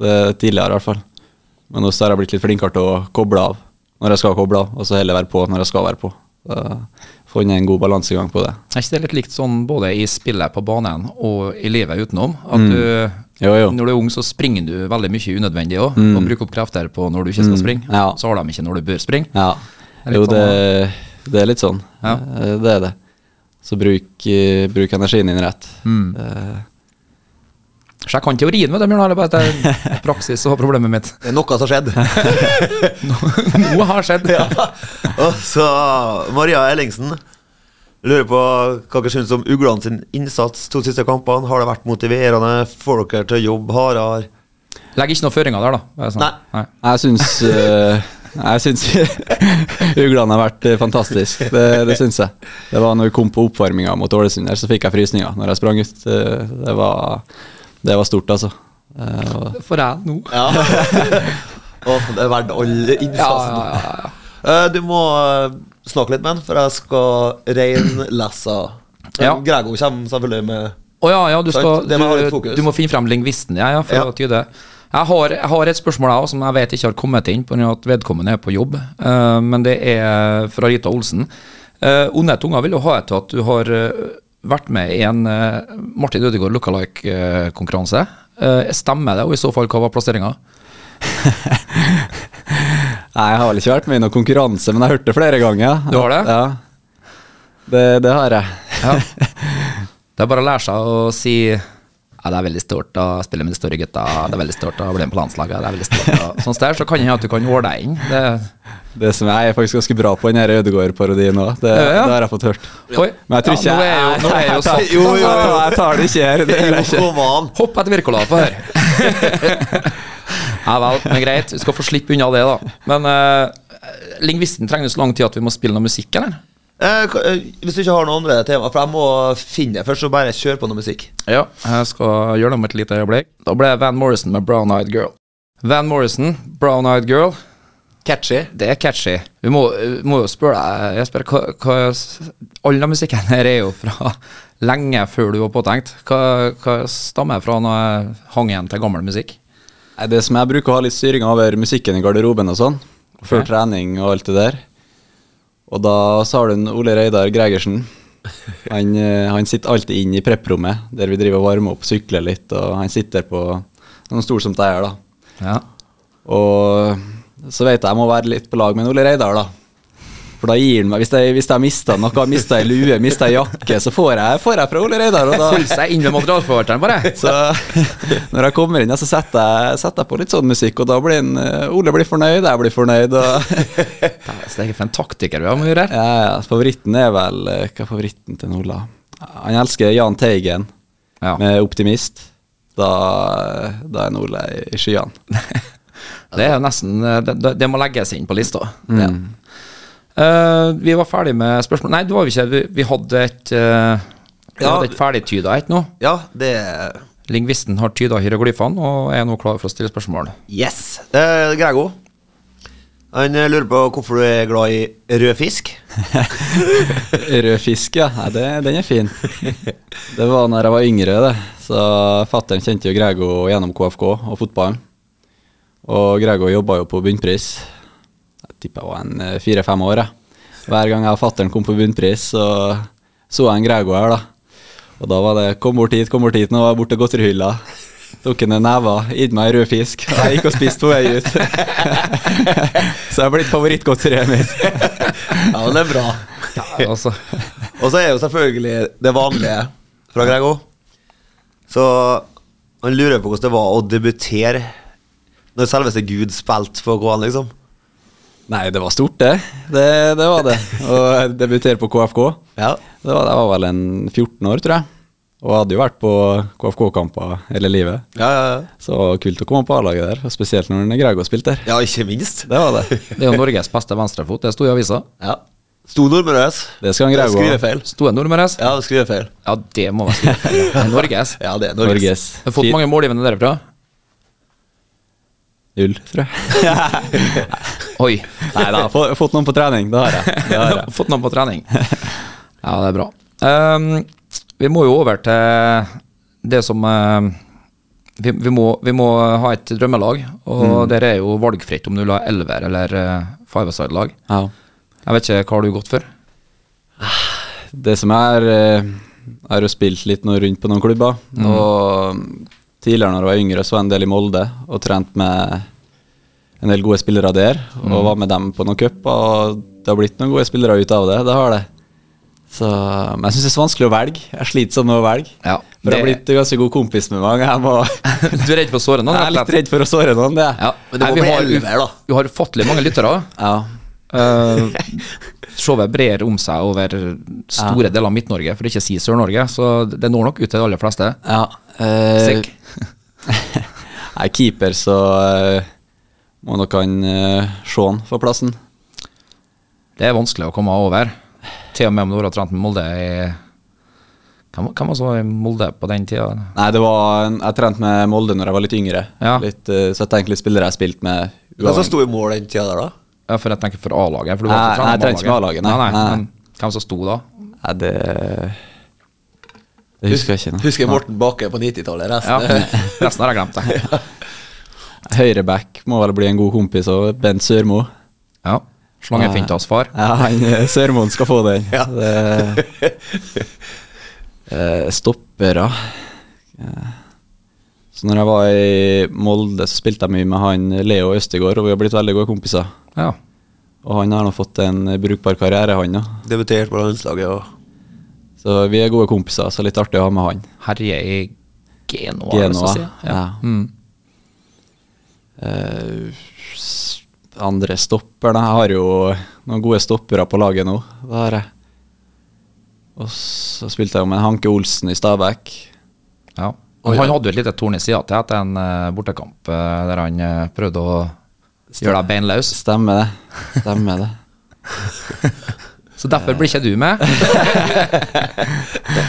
E: Det, tidligere i hvert fall. Men også har jeg blitt litt flinkere til å koble av når jeg skal koble av, og så heller være på når jeg skal være på. Så jeg har Funnet en god balansegang på det.
D: Er ikke det litt likt sånn både i spillet på banen og i livet utenom? At du,
E: Jo, jo.
D: når du er ung, så springer du veldig mye unødvendig òg, og bruker opp krefter på når du ikke skal springe.
E: ja.
D: Så har de ikke når du bør springe.
E: Ja.
D: Det er litt
E: Jo, det, det er litt sånn.
D: Ja.
E: Eh, Det er det. Så bruk, eh, bruk energien din rett. Eh,
D: Så jeg kan teorien, vet du, Bjørn Arne, bare at det er praksis som var problemet mitt.
B: Det er noe som har skjedd.
D: Noe har skjedd.
B: Ja. Og så Maria Ellingsen lurer på hva dere syns om uglene sin innsats to siste kampene. Har det vært motiverende? Får dere til jobb hardere?
D: Legger ikke noen føringer der, da. Det er sånn.
B: Nei.
E: Jeg syns eh, Jeg syns uglene har vært eh, fantastisk. Det, det syns jeg. Det var når vi kom på oppvarminga mot Ålesund her, så fikk jeg frysninger når jeg sprang ut. Eh, Det var, det var stort, altså. Eh, og-
D: For jeg nå.
B: Ja. Åh, det er verdt all innsatsen.
D: Ja, ja,
B: Eh, Du må eh, snakke litt med han, for jeg skal reinlese.
D: Ja.
B: Grego kommer selvfølgelig med
D: Å ja, ja, du,
B: Sant?
D: skal,
B: Det må ha litt
D: du,
B: fokus.
D: du må finne frem lingvisten. Ja, ja, for
B: Ja.
D: å tyde. Jeg har, jeg har et spørsmål jeg også, som jeg vet ikke har kommet inn pga. at vedkommende er på jobb. eh, men det er fra Rita Olsen. Uh, onde tunger vil jo ha et til at du har eh, vært med i en eh, Martin Ødegaard lookalike-konkurranse. Eh, stemmer det, og i så fall hva var plasseringa?
E: Nei, jeg har vel ikke vært med i noen konkurranse, men jeg har hørt det flere ganger. ja.
D: Du har det?
E: Ja. Det, det har jeg.
D: Ja. Det er bare å lære seg å si ja, det er veldig stort å spille med de store gutta, det er veldig stort å bli med på landslaget, det er veldig stort å Sånn der, så kan det hende at du kan ordne deg inn. Det
E: Det som jeg er faktisk ganske bra på den her Ødegaard-parodien òg. Det,
D: Ja, ja.
E: det har jeg fått hørt.
D: Oi.
E: Men jeg tror ikke
D: ja, nå er jo, nå er jo
E: jeg,
D: sagt,
E: jeg, jo, jo, jo, jeg tar det ikke her. Det gjør jeg ikke.
B: Kom an!
D: Hopp etter Wirkola, få høre. ja vel, men greit. Du skal få slippe unna det, da. Men uh, lingvisten trenger jo så lang tid at vi må spille noe musikk, eller?
B: Eh, k- eh, Hvis du ikke har noen andre tema, for jeg må finne det først, så bare kjør på noe musikk.
D: Ja, jeg skal gjøre det om et lite øyeblikk. Da ble det Van Morrison med Brown Eyed Girl. Van Morrison, Brown Eyed Girl.
E: Catchy.
D: Det er catchy. Vi må, vi må jo spørre deg, Jesper, hva, hva All den musikken her er jo fra lenge før du var påtenkt. Hva, hva stammer fra når jeg hang igjen til gammel musikk?
E: Nei, Det som jeg bruker å ha litt styring over musikken i garderoben og sånn, før
D: Ok.
E: trening og alt det der. Og da så har du en Ole Reidar Gregersen. Han, eh, han sitter alltid inn i prepprommet, der vi driver og varmer opp, sykler litt, og han sitter på noen stol som jeg er, da.
D: Ja.
E: Og så vet jeg jeg må være litt på lag med Ole Reidar, da. For da gir han meg Hvis jeg, hvis jeg mister noe, mister ei lue, mister ei jakke, så får jeg, får jeg fra Ole Reidar. Og da,
D: Hold seg inn ved materialforvalteren, bare.
E: så når jeg kommer inn, ja, så setter jeg, setter jeg på litt sånn musikk, og da blir en, eh, Ole blir fornøyd, jeg blir fornøyd. Og,
D: Så det er for en taktiker vi har med å gjøre her.
E: ja, ja, favoritten er vel eh, Hva er favoritten til Ola? Han elsker Jahn Teigen
D: Ja.
E: med 'Optimist'. Da, eh, da er Ole i skyene.
D: Det er jo nesten det, det- det må legges inn på lista.
E: Mm.
D: Ja. Eh, vi var ferdig med spørsmål Nei, det var vi ikke. Vi, vi hadde et uh, Vi
B: Ja.
D: hadde et ferdigtyda et nå.
B: Ja, det er
D: Lingvisten har tyda hieroglyfene og er nå klar for å stille spørsmål.
B: Yes! Eh, Grego. Han eh, lurer på hvorfor du er glad i rød fisk.
E: Rød fisk, ja. Nei, det, den er fin. Det var når jeg var yngre, det. Så fattern kjente jo Grego gjennom KFK og fotballen. Og Grego jobba jo på bunnpris. Jeg tipper jeg var en eh, fire-fem år, jeg. Hver gang jeg og fattern kom på bunnpris, så så jeg en Grego her, da. Og da var det 'kom bort hit, kom bort hit', nå var jeg borte godterihylla. Tok ned never, gitt meg en rød fisk. Og jeg gikk og spiste på vei ut. så jeg er blitt favorittgodteriet mitt.
B: Ja, men det er bra.
D: Altså,
B: Og så er jo selvfølgelig det vanlige fra Grego. Så han lurer på hvordan det var å debutere når selveste Gud spilte for KN, liksom.
E: Nei, det var stort, det. Det, det var det. Å debutere på KFK.
B: Ja.
E: Det var, jeg var vel en 14 år, tror jeg. Og hadde jo vært på KFK-kamper hele livet.
B: Ja, ja,
E: Så det var kult å komme på A-laget der, og spesielt når Grego spilte der.
B: ja. ja, ikke minst.
E: Det var det.
D: det er jo Norges beste venstrefot, det sto i avisa.
B: Ja. Sto nordmøres.
E: Det skal han Grego ha.
B: Skrivefeil.
D: Sto en nordmøres?
B: Ja, skrivefeil.
D: Ja, det må være skrivefeil. Det er Norges.
B: Ja, det er Norges.
E: Norges.
D: Du har fått mange målgivende derfra?
E: Null, tror jeg.
D: Oi.
E: Nei da, få- fått noen på trening. Det har jeg. Det har jeg.
D: Fått noen på trening. Ja, det er bra. Ehm, vi må jo over til det som eh, vi, vi, må, vi må ha et drømmelag, og
B: Mm.
D: der er jo valgfritt om du vil ha elver eller uh, five-side-lag.
E: Ja.
D: Jeg vet ikke, hva har du gått for?
E: Det som er, eh, er jo spilt litt nå rundt på noen klubber.
D: Mm.
E: Og tidligere når jeg var yngre, så var jeg en del i Molde og trent med en del gode spillere der. Og
D: Mm.
E: var med dem på noen cuper, og det har blitt noen gode spillere ut av det. Det har det. Så, men jeg syns det er så vanskelig å velge. Jeg sliter sånn med å velge.
D: Ja,
E: For jeg har
D: det-
E: blitt ganske god kompis med mange. Jeg, må,
D: Du er redd for å såre noen?
E: jeg
D: rett
E: er
D: og slett.
E: litt redd for å såre noen, det. er jeg.
D: Ja,
B: Men det
D: nei,
B: må
D: vi
B: bli
D: har u-
B: elver, da.
D: Vi har ufattelig mange lyttere.
E: Ja.
D: Uh, Showet brer om seg over store deler av Midt-Norge, for ikke å si Sør-Norge. Så det når nok ut til de aller fleste.
E: Ja, eh,
D: Sekk.
E: Nei, keeper, så eh, må nok han eh, Sean få plassen.
D: Det er vanskelig å komme over. Til og med om du har trent med Molde i Hvem hvem var så i Molde på den tida?
E: Nei, det var en, jeg trente med Molde når jeg var litt yngre.
D: Ja.
E: Litt, eh, så jeg tenkte litt spillere jeg spilte med.
B: Hvem som sto i mål den tida der, da?
D: Ja, for jeg tenker for A-laget. for du var
E: Nei,
D: ikke trener
E: nei, jeg trengte ikke med A-laget, nei.
D: Nei, nei,
E: Nei.
D: Men hvem som sto da?
E: Nei, det, det husker jeg ikke. nå.
B: Husker Morten Bakke på 90-tallet.
D: Ja,
B: Resten eh,
D: Resten har jeg glemt. Det.
E: Høyreback må vel bli en god kompis av Bent Sørmo.
D: Ja. Slangefint av oss, far.
E: Ja, han, eh, Sørmoen skal få den.
B: Ja.
E: Det, eh, stoppere Eh, Så når jeg var i Molde, så spilte jeg mye med han Leo Østegård, og vi har blitt veldig gode kompiser.
D: Ja.
E: Og han har nå fått en brukbar karriere, han òg.
B: Debutert på landslaget og
E: Så vi er gode kompiser, så litt artig å ha med han.
D: Herje i Genoa, har jeg lyst til
E: Genoa.
D: å si.
E: Ja.
D: Mm.
E: Eh, s- andre stopper da. Jeg har jo noen gode stoppere på laget nå. Det har jeg. Og så spilte jeg jo med Hanke Olsen i Stabæk.
D: Ja. Og han hadde jo et lite torn i sida til etter en eh, bortekamp eh, der han eh, prøvde å gjøre deg beinløs.
E: Stemmer det. Stemmer det.
D: Så derfor blir ikke du med.
E: Jeg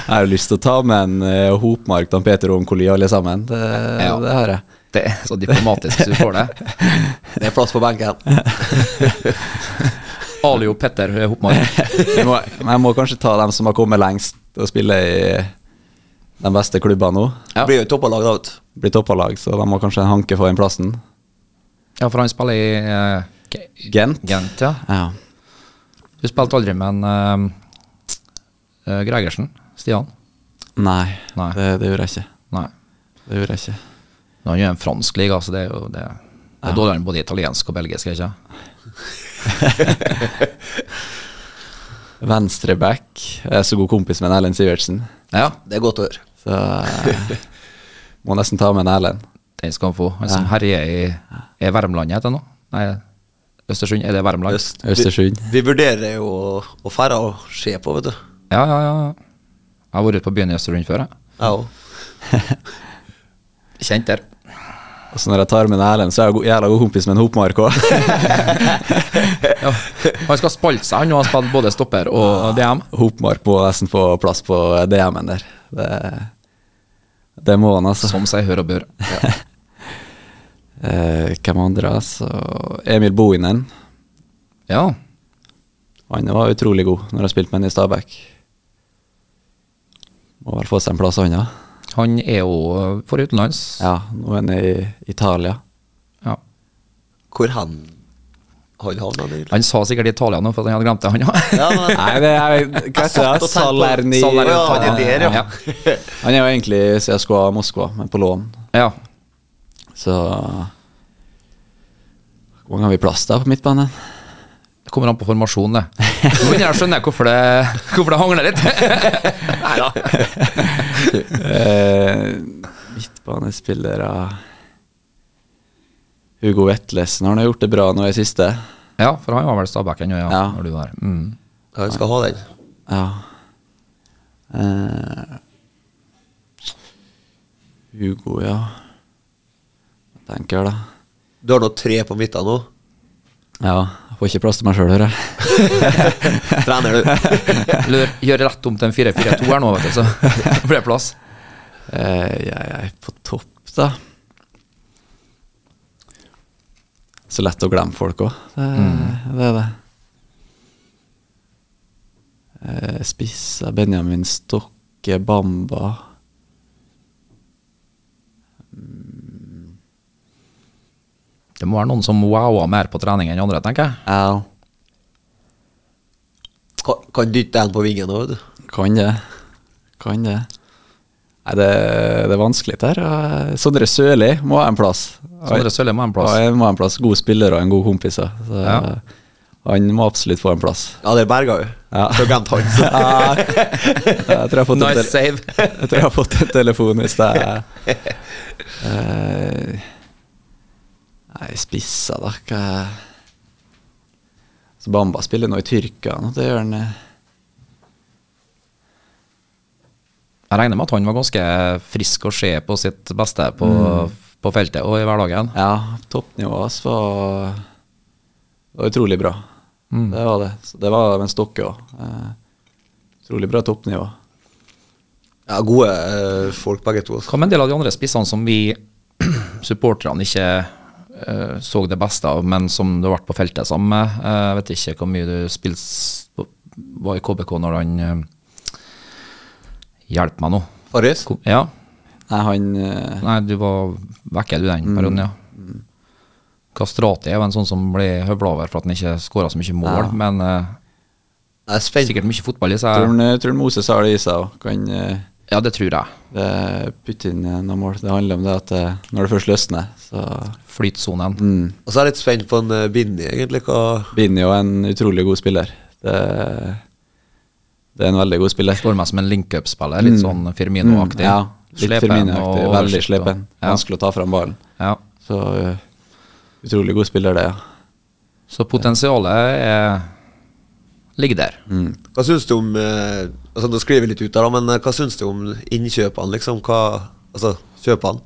E: har jo lyst til å ta med en eh, Hopmark, Dan Peter og Onkoli alle sammen. Det,
D: Ja.
E: det har jeg.
D: Det er så diplomatisk hvis du får det.
B: Det er plass på benken.
D: Alio Petter Hopmark.
E: Jeg må, men jeg må kanskje ta dem som har kommet lengst og spille i de beste klubbene nå.
D: Ja.
B: Blir jo toppa lag, da, vet du.
E: Blir toppavlag, så de må kanskje hanke for den plassen.
D: Ja, for han spiller i eh, G-
E: Gent.
D: Gent, ja.
E: Ja.
D: Du spilte aldri med en eh, eh, Gregersen? Stian?
E: Nei,
D: Nei.
E: Det, det gjorde jeg ikke.
D: Nei.
E: Det gjorde jeg ikke.
D: Men Han er jo en fransk liga, så det er jo det, det er dårligere enn både italiensk og belgisk, er det ikke?
E: Venstreback. Jeg er så god kompis med en Erlend Sivertsen,
D: Ja,
B: Det er godt å høre.
E: så jeg må nesten ta med en Erlend.
D: den skal han få. Han som herjer i Er Värmland heter det nå? Nei, Østersund? Er det Värmland?
B: Øst-
E: Østersund.
B: Vi, vi vurderer jo å- å fære og se på, vet du.
D: Ja, ja, ja. Jeg har vært på byen i Østersund før, jeg.
B: Jeg òg.
D: Kjent der.
E: Og så Altså, når jeg tar med en Erlend, så er jeg go- jævla god kompis med en Hopmark òg.
D: Ja. Han skal spalte seg, han nå har spilt både stopper og DM.
E: Hopmark må nesten få plass på DM-en der. Det, det må han, altså.
D: Som seg hør og bør.
E: Eh, hvem andre? Altså? Emil Bohinen.
D: Ja.
E: Han var utrolig god når han spilte med han i Stabæk. Må vel få seg en plass, han òg.
D: Han er jo eh, for utenlands.
E: Ja, nå er han i Italia.
D: Ja.
B: Hvor han han havna, egentlig?
D: Han sa sikkert Italia nå, for han hadde glemt det, han òg.
B: Ja, men,
E: Nei, det er Hva heter det? Salerni
B: Salerni.
E: Han
B: han er der, ja.
E: er jo egentlig CSKA Moskva, men på lån.
D: ja.
E: Så Hvor mange har vi plass da på midtbanen?
D: Det kommer an på formasjonen, det. Nå begynner jeg å skjønne hvorfor det, hvorfor det hangler litt. Nei da.
E: Eh, midtbanespillere Hugo Vetlesen han har gjort det bra nå i siste.
D: Ja, for han var vel Stabæk ennå, ja.
E: Ja.
D: Når du var. Mm.
B: han skal ha den.
E: Ja. Eh, Hugo, ja. Hva Tenker jeg, da.
B: Du har nå tre på midten nå.
E: Ja, jeg får ikke plass til meg sjøl, hører jeg.
B: Trener, du.
D: Eller gjør rett om til en 4-4-2 her nå, vet du, så blir det plass.
E: Eh, jeg er på topp, da. Så lett å glemme folk òg. Det,
D: Mm.
E: det er det. Eh, Spissa Benjamin Stokke, Bamba
D: Det må være noen som wower mer på trening enn andre, tenker jeg.
E: Al.
B: Kan, kan dytte en på vingen nå, vet du.
E: Kan det. Kan det. Nei, det, det er vanskelig der. og Sondre Sørli må ha en plass.
D: Sondre Sølje må ha en plass.
E: Ja, jeg må ha en plass. God spiller og en god kompis. ja. Så, eh,
D: Ja.
E: Han må absolutt få en plass.
B: Ja, det berga jo.
E: Ja.
B: Så glemt han. så.
E: Jeg tror jeg har fått, en,
D: Nice
E: tel-
D: save.
E: jeg tror jeg har fått en telefon hvis det er Eh, Nei, spissa, da. Hva Så Bamba spiller nå i Tyrkia. Nå, det gjør han eh.
D: Jeg regner med at han var ganske frisk å se på sitt beste på, på feltet og i hverdagen.
E: Ja, toppnivået hans var, var utrolig bra. Det var det. Så det var med en stokke òg. utrolig bra toppnivå.
B: Ja, gode eh, folk begge to. Altså.
D: Hva med en del av de andre spissene som vi supporterne ikke eh, så det beste av, men som du har vært på feltet sammen med? Eh, Jeg vet ikke hvor mye du spilte s- på- var i KBK når han eh, Hjelp meg nå.
B: Farris?
D: Ko- Ja,
E: Nei, han eh,
D: nei, du var vekke du den perioden, ja. Kastrati er jo en sånn som ble høvla over for at han ikke skåra så mye mål, men eh,
B: Jeg er spent.
D: sikkert mye fotball i
E: tror,
D: seg.
E: han, tror han eh, Moses har det i seg òg. Kan eh,
D: Ja, det tror jeg.
E: det- putte inn eh, noen mål. Det handler om det at eh, når det først løsner, så
D: Flytsonen.
E: mm.
B: Og så er jeg litt spent på en uh, Bindi, egentlig. Hva
E: Binni er en utrolig god spiller. Det, det er en veldig god spiller.
D: Slår meg som en link-up-spiller, litt sånn Firmino-aktig.
E: Mm, ja, litt
D: Slepen
E: Firmino-aktig.
D: og
E: Veldig
D: oversikt og-
E: slepen.
D: Ja.
E: Vanskelig å ta fram ballen.
D: Ja.
E: Så eh, utrolig god spiller, det, ja.
D: Så potensialet er, ligger der.
B: Hva syns du om eh, altså Nå skriver jeg litt ut der, da, men eh, hva syns du om innkjøpene, liksom? Hva, altså kjøpene?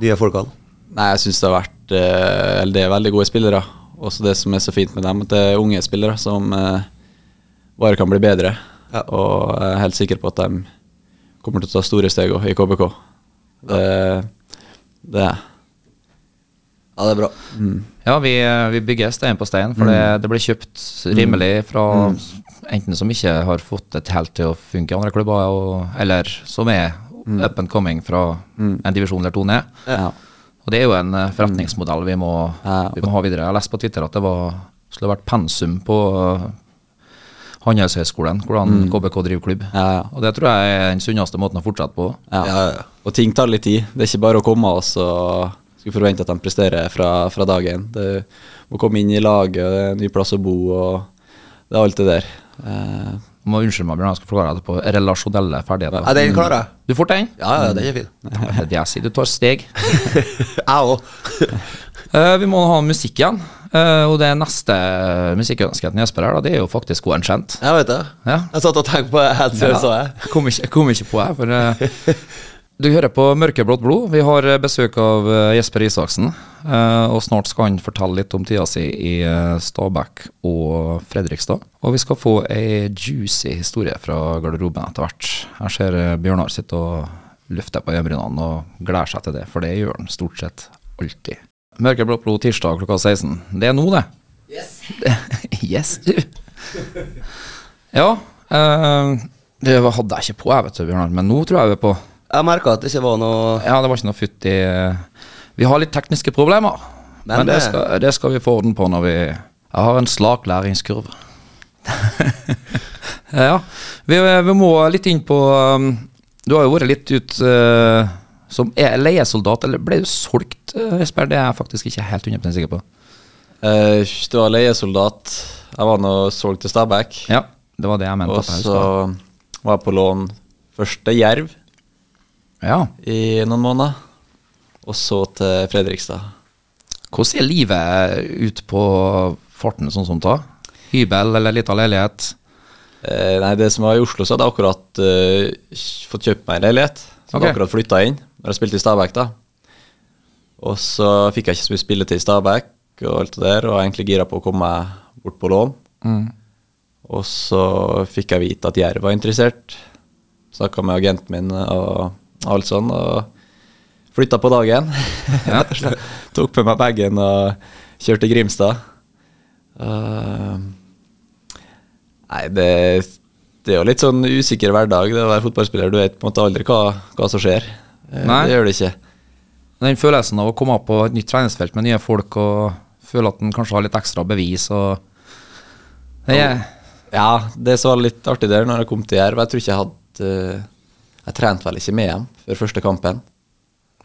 B: Nye folkene?
E: Nei, jeg syns det har vært eh, Eller det er veldig gode spillere. Også det som er så fint med dem, at det er unge spillere som eh, bare kan bli bedre.
B: Ja.
E: Og jeg er helt sikker på at de kommer til å ta store steg også i KBK. Det, det er jeg.
B: Ja, det er bra.
D: Ja, vi, eh, vi bygger stein på stein, for
E: Mm.
D: det, det blir kjøpt rimelig fra enten som ikke har fått det helt til å funke i andre klubber, og, eller som er up and coming fra en divisjon eller to ned.
E: Mm. Ja.
D: Og det er jo en eh, forretningsmodell vi må,
E: Ja.
D: vi må ha videre. Jeg har lest på Twitter at det var, skulle vært pensum på eh, Handelshøyskolen, hvordan KBK driver klubb.
E: Mm. Ja, ja.
D: Og det tror jeg er den sunneste måten å fortsette på.
E: Ja.
B: Ja, ja.
E: Og ting tar litt tid. Det er ikke bare å komme og så skulle forvente at de presterer fra, fra dag én. Det- Må komme inn i laget, og det er en ny plass å bo, og det er alt det der. Eh,
D: Du må unnskylde meg, Bjørn, jeg skal forklare det på relasjonelle ferdigheter.
B: Ja, den klarer jeg.
D: Du får den?
B: Ja, ja, den er fin.
D: Ja, men Det er det jeg sier, du tar steg.
B: Jeg òg.
D: Eh, vi må ha musikk igjen. Eh, og det neste musikkønsket til Jesper her, da, det er jo faktisk god en kjent.
B: Jeg vet det.
D: Ja.
B: Jeg satt og tenkte på det helt før, så jeg.
D: Jeg kom ikke, jeg kom ikke på her, for eh, Du hører på Mørkeblått blod. Vi har eh, besøk av eh, Jesper Isaksen. eh, og snart skal han fortelle litt om tida si i eh, Stabæk og Fredrikstad. Og vi skal få ei juicy historie fra garderoben etter hvert. Jeg ser eh, Bjørnar sitte og løfte på øyenbrynene og gleder seg til det, for det gjør han stort sett alltid. Mørkeblått blod tirsdag klokka 16. Det er nå, det. Yes. yes, du. Ja. eh, det var- hadde jeg ikke på, jeg, vet du, Bjørnar, men nå tror jeg vi er på.
B: Jeg merka at det ikke var noe
D: Ja, det var ikke noe futt i eh, Vi har litt tekniske problemer, men,
B: Men
D: det,
B: det-
D: skal, det skal vi få orden på når vi Jeg har en slak læringskurve. ja, vi, vi må litt inn på um, Du har jo vært litt ut eh, som er leiesoldat, eller ble du solgt, eh, Jesper? Det er jeg faktisk ikke helt 100 sikker på.
E: eh, det var leiesoldat. Jeg var nå solgt til Stabæk.
D: Ja, det var det jeg mente.
E: Og
D: at jeg
E: så
D: husker.
E: var jeg på lån først til Jerv
D: Ja.
E: i noen måneder, og så til Fredrikstad.
D: Hvordan er livet eh, ut på farten sånn som da? Hybel eller lita leilighet?
E: Eh, nei, det som var i Oslo, så hadde jeg akkurat eh, fått kjøpt meg en leilighet. Som
D: Ok.
E: jeg akkurat flytta inn, når jeg spilte i Stabæk, da. Og så fikk jeg ikke så mye spilletid i Stabæk, og alt det der, og jeg var egentlig gira på å komme meg bort på lån.
D: Mm.
E: Og så fikk jeg vite at Jerv var interessert. Snakka med agenten min og alt sånn, og flytta på dagen.
D: Ja.
E: Tok med meg bagen og kjørte til Grimstad. Eh, Nei, det, det er jo litt sånn usikker hverdag det å være fotballspiller. Du vet på en måte aldri hva, hva som skjer. Eh,
D: Nei.
E: Det gjør det ikke.
D: Den følelsen av å komme opp på et nytt treningsfelt med nye folk og føle at en kanskje har litt ekstra bevis og det er,
E: Ja, det som var litt artig der når jeg kom til Jerv, jeg tror ikke jeg hadde eh, Jeg trente vel ikke med dem før første kampen.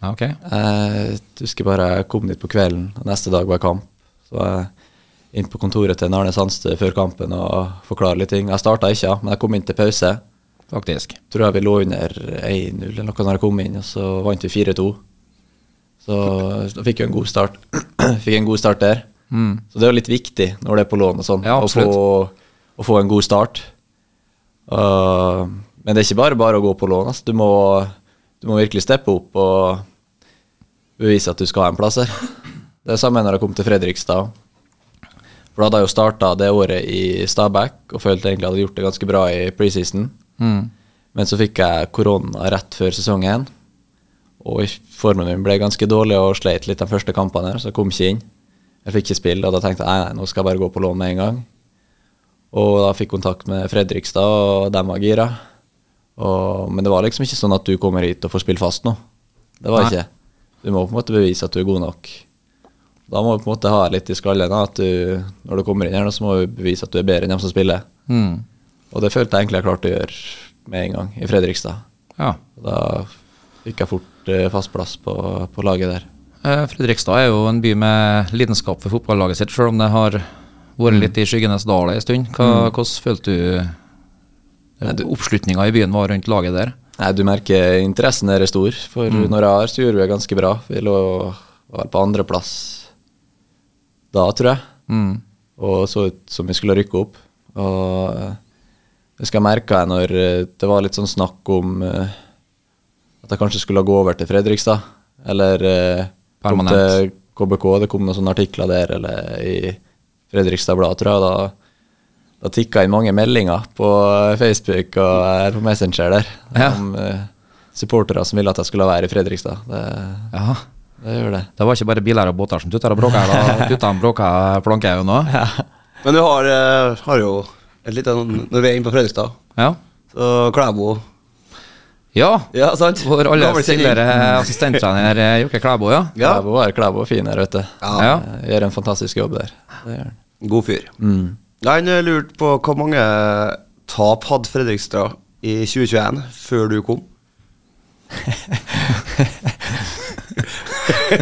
D: ja, ok.
E: Jeg husker bare jeg kom dit på kvelden, og neste dag var kamp. Så var jeg inn på kontoret til Arne Sandstø før kampen og forklare litt ting. Jeg starta ikke, men jeg kom inn til pause.
D: Faktisk.
E: tror jeg vi lå under 1-0 eller noe når jeg kom inn, og så vant vi 4-2. Så da fikk vi en god start. fikk en god start der. Så det er jo litt viktig når det er på lån og sånn,
D: Ja,
E: å, få, å få en god start. Uh, men det er ikke bare bare å gå på lån. Altså. Du, må, du må virkelig steppe opp og bevise at du skal ha en plass her. Det er samme når jeg kom til Fredrikstad. For da hadde jeg jo starta det året i Stabæk og følte egentlig at jeg hadde gjort det ganske bra i preseason. Men så fikk jeg korona rett før sesongen. Og i- formen min ble ganske dårlig og sleit litt de første kampene, her, så jeg kom ikke inn. Jeg fikk ikke spille, og da tenkte jeg nei, nei, nå skal jeg bare gå på lån med en gang. Og da fikk jeg kontakt med Fredrikstad, og de var gira. Og, men det var liksom ikke sånn at du kommer hit og får spille fast nå. Det var
D: Nei.
E: ikke. Du må på en måte bevise at du er god nok. Da må du på en måte ha litt i skallen da, at du, når du kommer inn her, nå, så må du bevise at du er bedre enn dem som spiller.
D: Mm.
E: Og det følte jeg egentlig jeg klarte å gjøre med en gang, i Fredrikstad.
D: Ja.
E: Og Da fikk jeg fort eh, fast plass på, på laget der.
D: Eh, Fredrikstad er jo en by med lidenskap for fotballaget sitt, selv om det har vært litt i skyggenes dal en stund. Hva, hvordan følte Mm. du oppslutninga i byen var rundt laget der?
E: Nei, Du merker interessen der er stor, for når jeg har, så gjorde vi det ganske bra. Vi lå var på andreplass da, tror jeg,
D: Mm.
E: og så ut som vi skulle rykke opp. Og eh, jeg husker jeg merka jeg når eh, det var litt sånn snakk om eh, at jeg kanskje skulle gå over til Fredrikstad, eller eh, kom
D: Permanent.
E: til KBK. Det kom noen sånne artikler der eller i Fredrikstad Blad, tror jeg. Da, da tikka inn mange meldinger på eh, Facebook og eller på Messenger der
D: Ja.
E: om eh, supportere som ville at jeg skulle være i Fredrikstad. Det,
D: Ja.
E: Det gjør det.
D: Det var ikke bare biler og båter som tutter og bråker. da Tuttene bråker planker jo nå.
G: Men du har, eh, har jo et lite sånn Når vi er inne på Fredrikstad,
D: Ja.
G: så Klæbo
D: ja.
G: Ja, sant?
D: Vår
G: Gammel
D: alles
G: stilling.
D: tidligere assistenttrener eh, Jokke Klæbo, ja.
G: Ja.
E: Klæbo er Klæbo fin her ute.
G: Ja.
D: Ja.
E: Eh, Gjør en fantastisk jobb der. Det gjør han.
G: God fyr. Nei, Han lurte på hvor mange tap hadde Fredrikstad i 2021 før du kom.
E: Jeg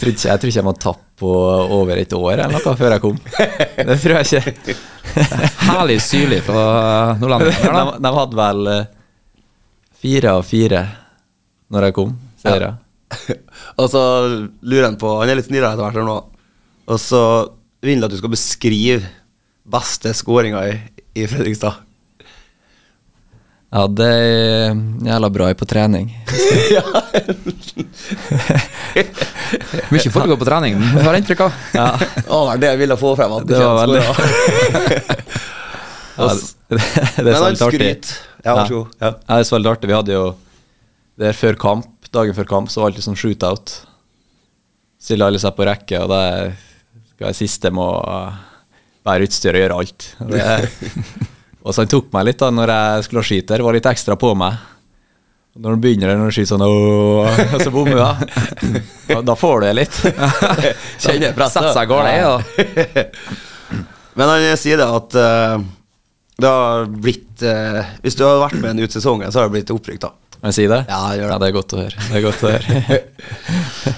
E: tror ikke jeg, tror ikke jeg må tappe på over et år eller noe før jeg kom. Det tror jeg ikke.
D: Herlig syrlig fra
E: De,
D: nordlendingen. her, da.
E: de hadde vel eh, fire av fire når jeg kom. Sier jeg.
G: Og så lurer han på Han er litt snillere etter hvert her nå. Og så vil han at du skal beskrive beste skåringa i, i Fredrikstad.
E: Jeg hadde en jævla bra på trening.
D: Mye foregår på trening, har jeg inntrykk av.
G: Å, det er det jeg ville få frem. At
E: Det var veldig
G: skåret.
E: Ja, det, det
G: Men
E: er så
G: han
E: litt artig.
G: skryter. Ja, vær så god. Ja.
E: Ja. Ja, det er så veldig artig. Vi hadde jo der før kamp, dagen før kamp, så var det alltid sånn shootout. Stiller alle seg på rekke, og det er- skal være siste med å bære utstyr og gjøre alt. Og det- Og så han tok meg litt da når jeg skulle skyte der, var litt ekstra på meg. Og Når han begynner der, når han skyter sånn «Åh», og så bommer jeg. Da, da får du det litt. Kjenner presset.
D: Sett seg i gårde, ja.
G: Men han sier det at eh, det har blitt eh, Hvis du har vært med en ut sesongen, så har det blitt opprykk, da.
E: Kan jeg si det?
G: Ja, gjør det.
E: Ja, det er godt å høre. Det er godt å høre.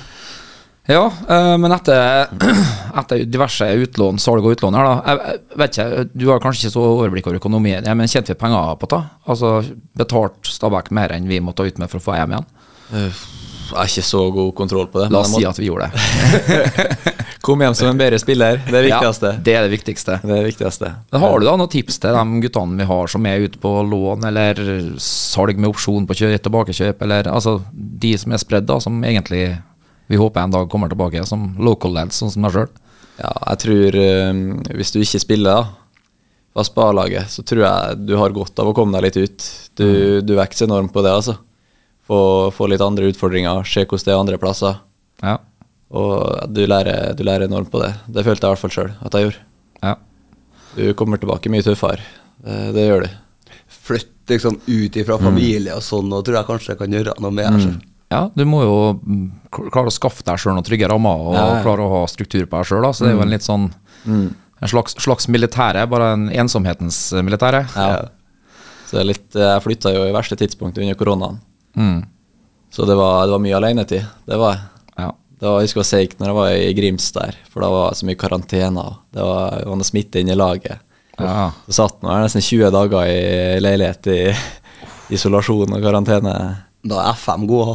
D: Ja, eh, men etter, etter diverse utlån, salg og utlån her, da. Jeg, jeg vet ikke, du har kanskje ikke så overblikk over økonomien, ja, men tjente vi penger på det? Altså betalt Stabæk mer enn vi måtte ut med for å få hjem igjen?
E: Jeg har ikke så god kontroll på det. men
D: La oss
E: jeg
D: si
E: må-
D: at vi gjorde det.
E: Kom hjem som en bedre spiller. Det er det viktigste.
D: Ja, det er det viktigste.
E: Det er det viktigste.
D: Men har du da noen tips til de guttene vi har som er ute på lån, eller salg med opsjon på kjø- tilbakekjøp, eller altså de som er spredd, da, som egentlig vi håper en dag kommer tilbake som local lads, sånn som meg sjøl?
E: Ja, jeg tror eh, hvis du ikke spiller da, fast på A-laget, så tror jeg du har godt av å komme deg litt ut. Du,
D: Mm.
E: du vokser enormt på det, altså. Få, få litt andre utfordringer, se hvordan det er andre plasser.
D: Ja.
E: Og du lærer, du lærer enormt på det. Det følte jeg i hvert fall sjøl at jeg gjorde.
D: ja.
E: Du kommer tilbake mye tøffere. Det, det gjør du.
G: Flytt liksom ut ifra familie og sånn, og tror jeg kanskje jeg kan gjøre noe med det.
D: Ja, du må jo mm, kl- klare å skaffe deg sjøl noen trygge rammer, og klare å ha struktur på deg sjøl, så det er jo
E: Mm.
D: en litt sånn En slags, slags militære, bare en ensomhetens eh, militære.
E: Ja. Så det er litt, jeg flytta jo i verste tidspunkt under koronaen.
D: Mm.
E: Så det var, det var mye alenetid. Det var jeg.
D: Ja.
E: Det var, jeg husker det var seigt når jeg var i Grims der, for da var det så mye karantene. og Det var, det var noe smitte inne i laget.
D: Ja.
E: Så satt man her nesten 20 dager i leilighet i isolasjon og karantene.
G: Da er FM god å ha.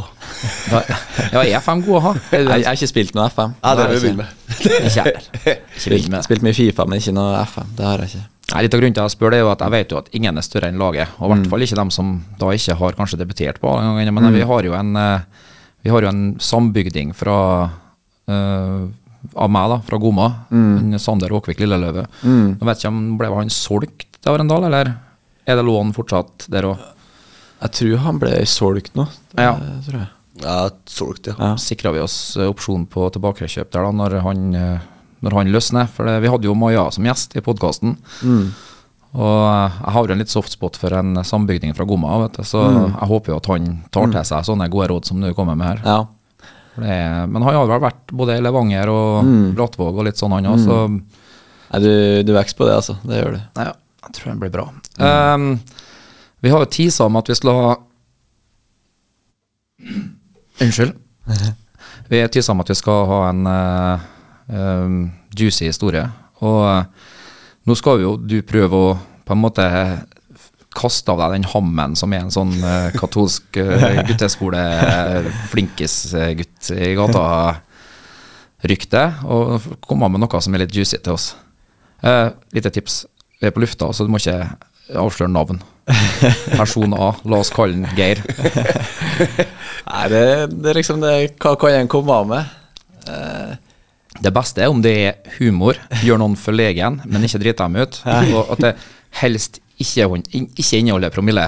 D: Da- ja, er FM god å ha? Er
E: Jeg,
D: du-
E: jeg har ikke spilt noe FM.
G: Ja, det
E: har
G: vil
E: jeg
G: vi
E: ikke.
G: begynne med.
D: Ikke jeg. Ikke vil med.
E: Spilt, spilt mye Fifa, men ikke noe FM. Det har jeg ikke.
D: Nei, litt av grunnen til at jeg spør det er jo at jeg vet jo at ingen er større enn laget, og i hvert fall ikke dem som da ikke har kanskje debutert på alle gangene, men vi har jo en eh, vi har jo en sambygding fra eh, av meg da, fra Goma, en Sander Åkvik Lilleløve. Jeg vet ikke om ble han solgt til Arendal, eller er det lån fortsatt der òg?
E: Jeg tror han ble solgt nå. Det,
D: Ja.
E: tror jeg.
G: Ja, solgt, ja.
E: Ja.
D: Sikra vi oss eh, opsjon på tilbakekjøp der da, når han, eh, når han løsner, for det, vi hadde jo Maja som gjest i podkasten.
E: Mm.
D: Og eh, jeg har jo en litt soft spot for en eh, sambygding fra Gomma, vet du, så jeg håper jo at han tar til seg sånne gode råd som du kommer med her.
E: Mm. Ja.
D: For det er, men han har vel vært både i Levanger og
E: Mm.
D: Brattvåg og litt sånn, han òg, så
E: Nei, du, du vokser på det, altså. Det gjør du.
D: ja, jeg tror han blir bra. Ehm, vi har jo teasa om at vi skulle ha Unnskyld. Vi er tysa om at vi skal ha en eh, em, juicy historie. Og eh, nå skal jo du prøve å på en måte kaste av deg den hammen som er en sånn eh, katolsk eh, gutteskole, eh, flinkis-gutt i gata-rykte, og f- komme med noe som er litt juicy til oss. Eh, lite tips. Vi er på lufta, så du må ikke avsløre navn. Person A, la oss kalle den Geir.
E: Nei, det, det er liksom det Hva kan en komme av med?
D: Det beste er om det er humor, gjør noen forlegen, men ikke drite dem ut. Og at det helst ikke, er hun- in- ikke inneholder promille.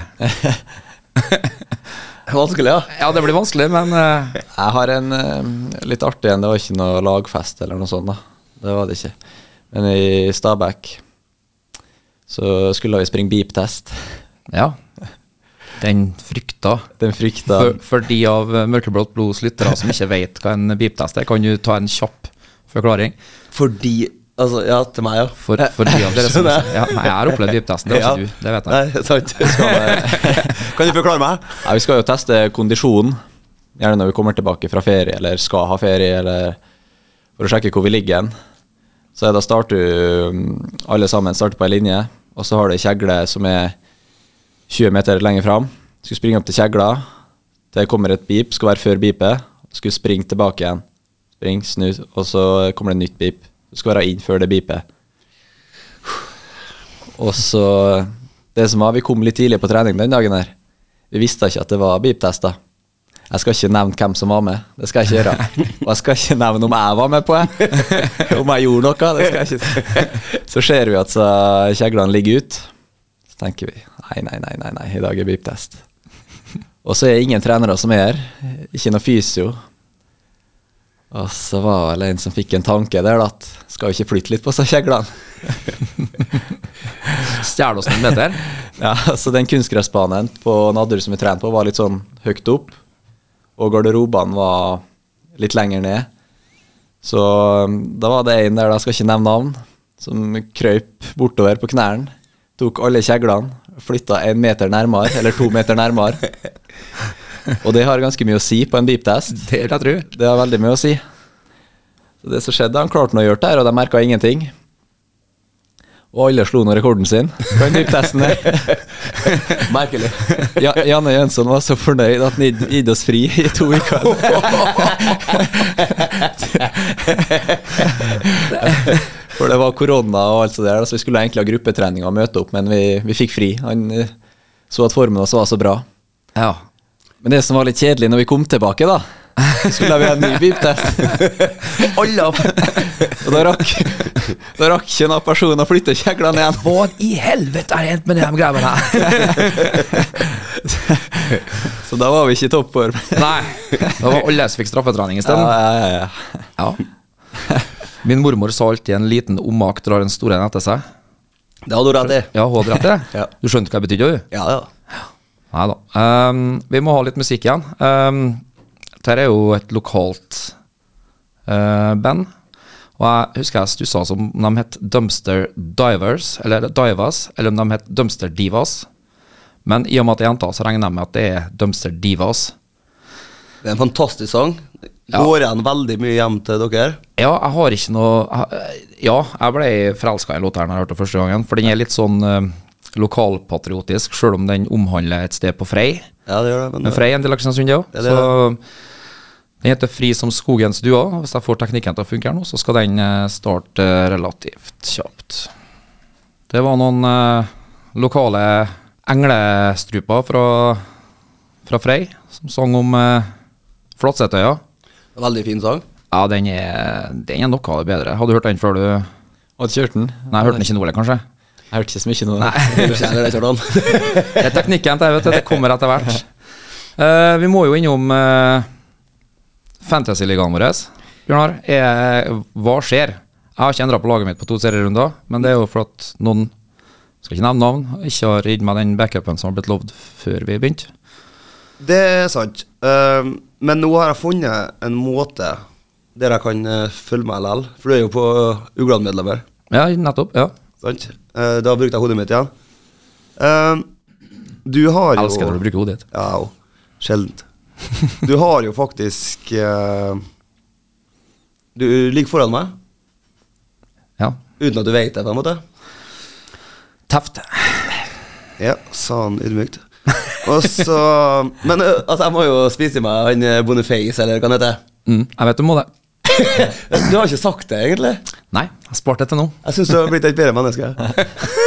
B: Vanskelig, ja.
D: Ja, det blir vanskelig, men eh,
E: Jeg har en eh, litt artig en. Det var ikke noe lagfest eller noe sånt. da Det var det ikke. Men i Stabæk så skulle vi springe beep-test.
D: ja. Den frykta.
E: Den frykta
D: For, for de av eh, mørkeblått blods lyttere som ikke vet hva en beep-test er, kan du ta en kjapp forklaring?
B: Fordi Altså, ja, til meg, ja.
D: For, for de av dere som
B: Skjønner jeg.
D: ja, Nei, jeg har opplevd beep-testen, det
B: Altså,
D: har ikke du. Det vet jeg.
B: Nei, sant. kan du forklare meg?
E: Ja, vi skal jo teste kondisjonen. Gjerne når vi kommer tilbake fra ferie, eller skal ha ferie, eller for å sjekke hvor vi ligger hen. Så er det- da starter du, mm, alle sammen starter på ei linje, og så har du ei kjegle som er 20 meter lenger fram. Skulle springe opp til kjegla, det kommer et beep, skal være før beepet. Skulle springe tilbake igjen. Spring, snu, og så kommer det et nytt beep. Du skal være inn før det beepet. Og så Det som var, vi kom litt tidlig på trening den dagen her. Vi visste ikke at det var beep-tester. Jeg skal ikke nevne hvem som var med. Det skal jeg ikke gjøre. Og jeg skal ikke nevne om jeg var med på det. Om jeg gjorde noe. Det skal jeg ikke. Så ser vi at så kjeglene ligger ut. Så tenker vi nei, nei, nei, nei, nei. i dag er beep-test. Og så er det ingen trenere som er her. Ikke noe fysio. Og så var det vel en som fikk en tanke der, da. At skal vi ikke flytte litt på seg kjeglene?
D: Stjel oss noen meter.
E: Ja, så den kunstgressbanen på Nadderud som vi trente på, var litt sånn høyt opp. Og garderobene var litt lenger ned. Så um, da var det en der, da skal ikke nevne navn, som krøyp bortover på knærne. Tok alle kjeglene, flytta en meter nærmere, eller to meter nærmere. Og det har ganske mye å si på en beep-test.
D: Det vil jeg tro.
E: Det har veldig mye å si. Så det som skjedde, han klarte noe å gjøre der, og de merka ingenting. Og alle slo nå rekorden sin på den dyptesten der. Merkelig. Ja, Janne Jønsson var så fornøyd at han gitt- gitt oss fri i to uker. For det var korona og alt det der, så vi skulle egentlig ha gruppetrening og møte opp, men vi, vi fikk fri. Han eh, så at formen også var så bra.
D: Ja.
E: Men det som var litt kjedelig når vi kom tilbake, da så skulle vi ha en ny beep-test.
B: Alle av
E: Og da rakk, da rakk ikke noen person å flytte kjeglene igjen.
D: Hva i helvete har hendt med de greiene her?
E: Så da var vi ikke i toppform.
D: Nei. Det var alle som fikk straffetrening
E: Ja,
D: isteden.
E: ja, ja, ja.
D: Ja. Min mormor sa alltid 'en liten omak drar en stor en etter seg'.
B: Det hadde du rett i.
D: Ja, hun hadde rett i det.
B: Ja.
D: Du skjønte hva det betydde, du?
B: Ja, ja.
D: Nei da. Ehm, vi må ha litt musikk igjen. Um, dette er jo et lokalt eh, band. Og jeg husker jeg stussa som om de het Dumpster Divers, eller Divas, eller om de het Dumpster Divas. Men i og med at det er jenter, så regner jeg med at det er Dumpster Divas.
B: Det er en fantastisk sang.
D: Ja.
B: Går igjen veldig mye hjem til dere.
D: Ja, jeg har ikke noe jeg- Ja, jeg ble forelska i låta her når jeg hørte den første gangen, for den er litt sånn eh, lokalpatriotisk, sjøl om den omhandler et sted på Frei.
B: Ja, det gjør det.
D: Men
B: Men,
D: Frei er en del av Kristiansund, det òg.
B: Ja, det er
D: Så den heter Fri som skogens dua. og Hvis jeg får teknikken til å funke her nå, så skal den eh, starte relativt kjapt. Det var noen eh, lokale englestruper fra, fra Frei som sang om eh, Flatsetøya.
B: veldig fin sang.
D: Ja, den er, den er noe av det bedre. Har du hørt den før du Nei,
E: Hadde kjørt den.
D: jeg hørte den ikke nå, eller kanskje?
E: Jeg hørte ikke så mye nå.
B: Jeg kjenner det, Kjartan.
D: Det er teknikken til det, vet du. Det kommer etter hvert. Eh, vi må jo innom uh, Fantasy-ligaen vår. Bjørnar, er, hva skjer? Jeg har ikke endra på laget mitt på to serierunder, men det er jo for at noen skal ikke nevne navn, ikke har gitt meg den backupen som har blitt lovd før vi begynte.
B: Det er sant. Ehm, men nå har jeg funnet en måte der jeg kan eh, følge meg likevel. For du er jo på uh, Ugland-medlemmer.
D: Ja, nettopp. ja.
B: Sant? Eh, da brukte jeg hodet mitt igjen. Ehm, du har jo
D: Elsker når du bruker hodet ditt.
B: Ja, jo. sjeldent. Du har jo faktisk eh, Du ligger foran meg
D: Ja.
B: uten at du vet det, på en måte.
D: Teft.
B: Ja, sa han ydmykt. Og så Men ø, altså, jeg må jo spise i meg han eh, Boniface, eller hva han heter.
D: Mm, jeg vet du må det.
B: Du har ikke sagt det, egentlig.
D: Nei, jeg sparte det til nå.
B: Jeg syns du har blitt et bedre menneske.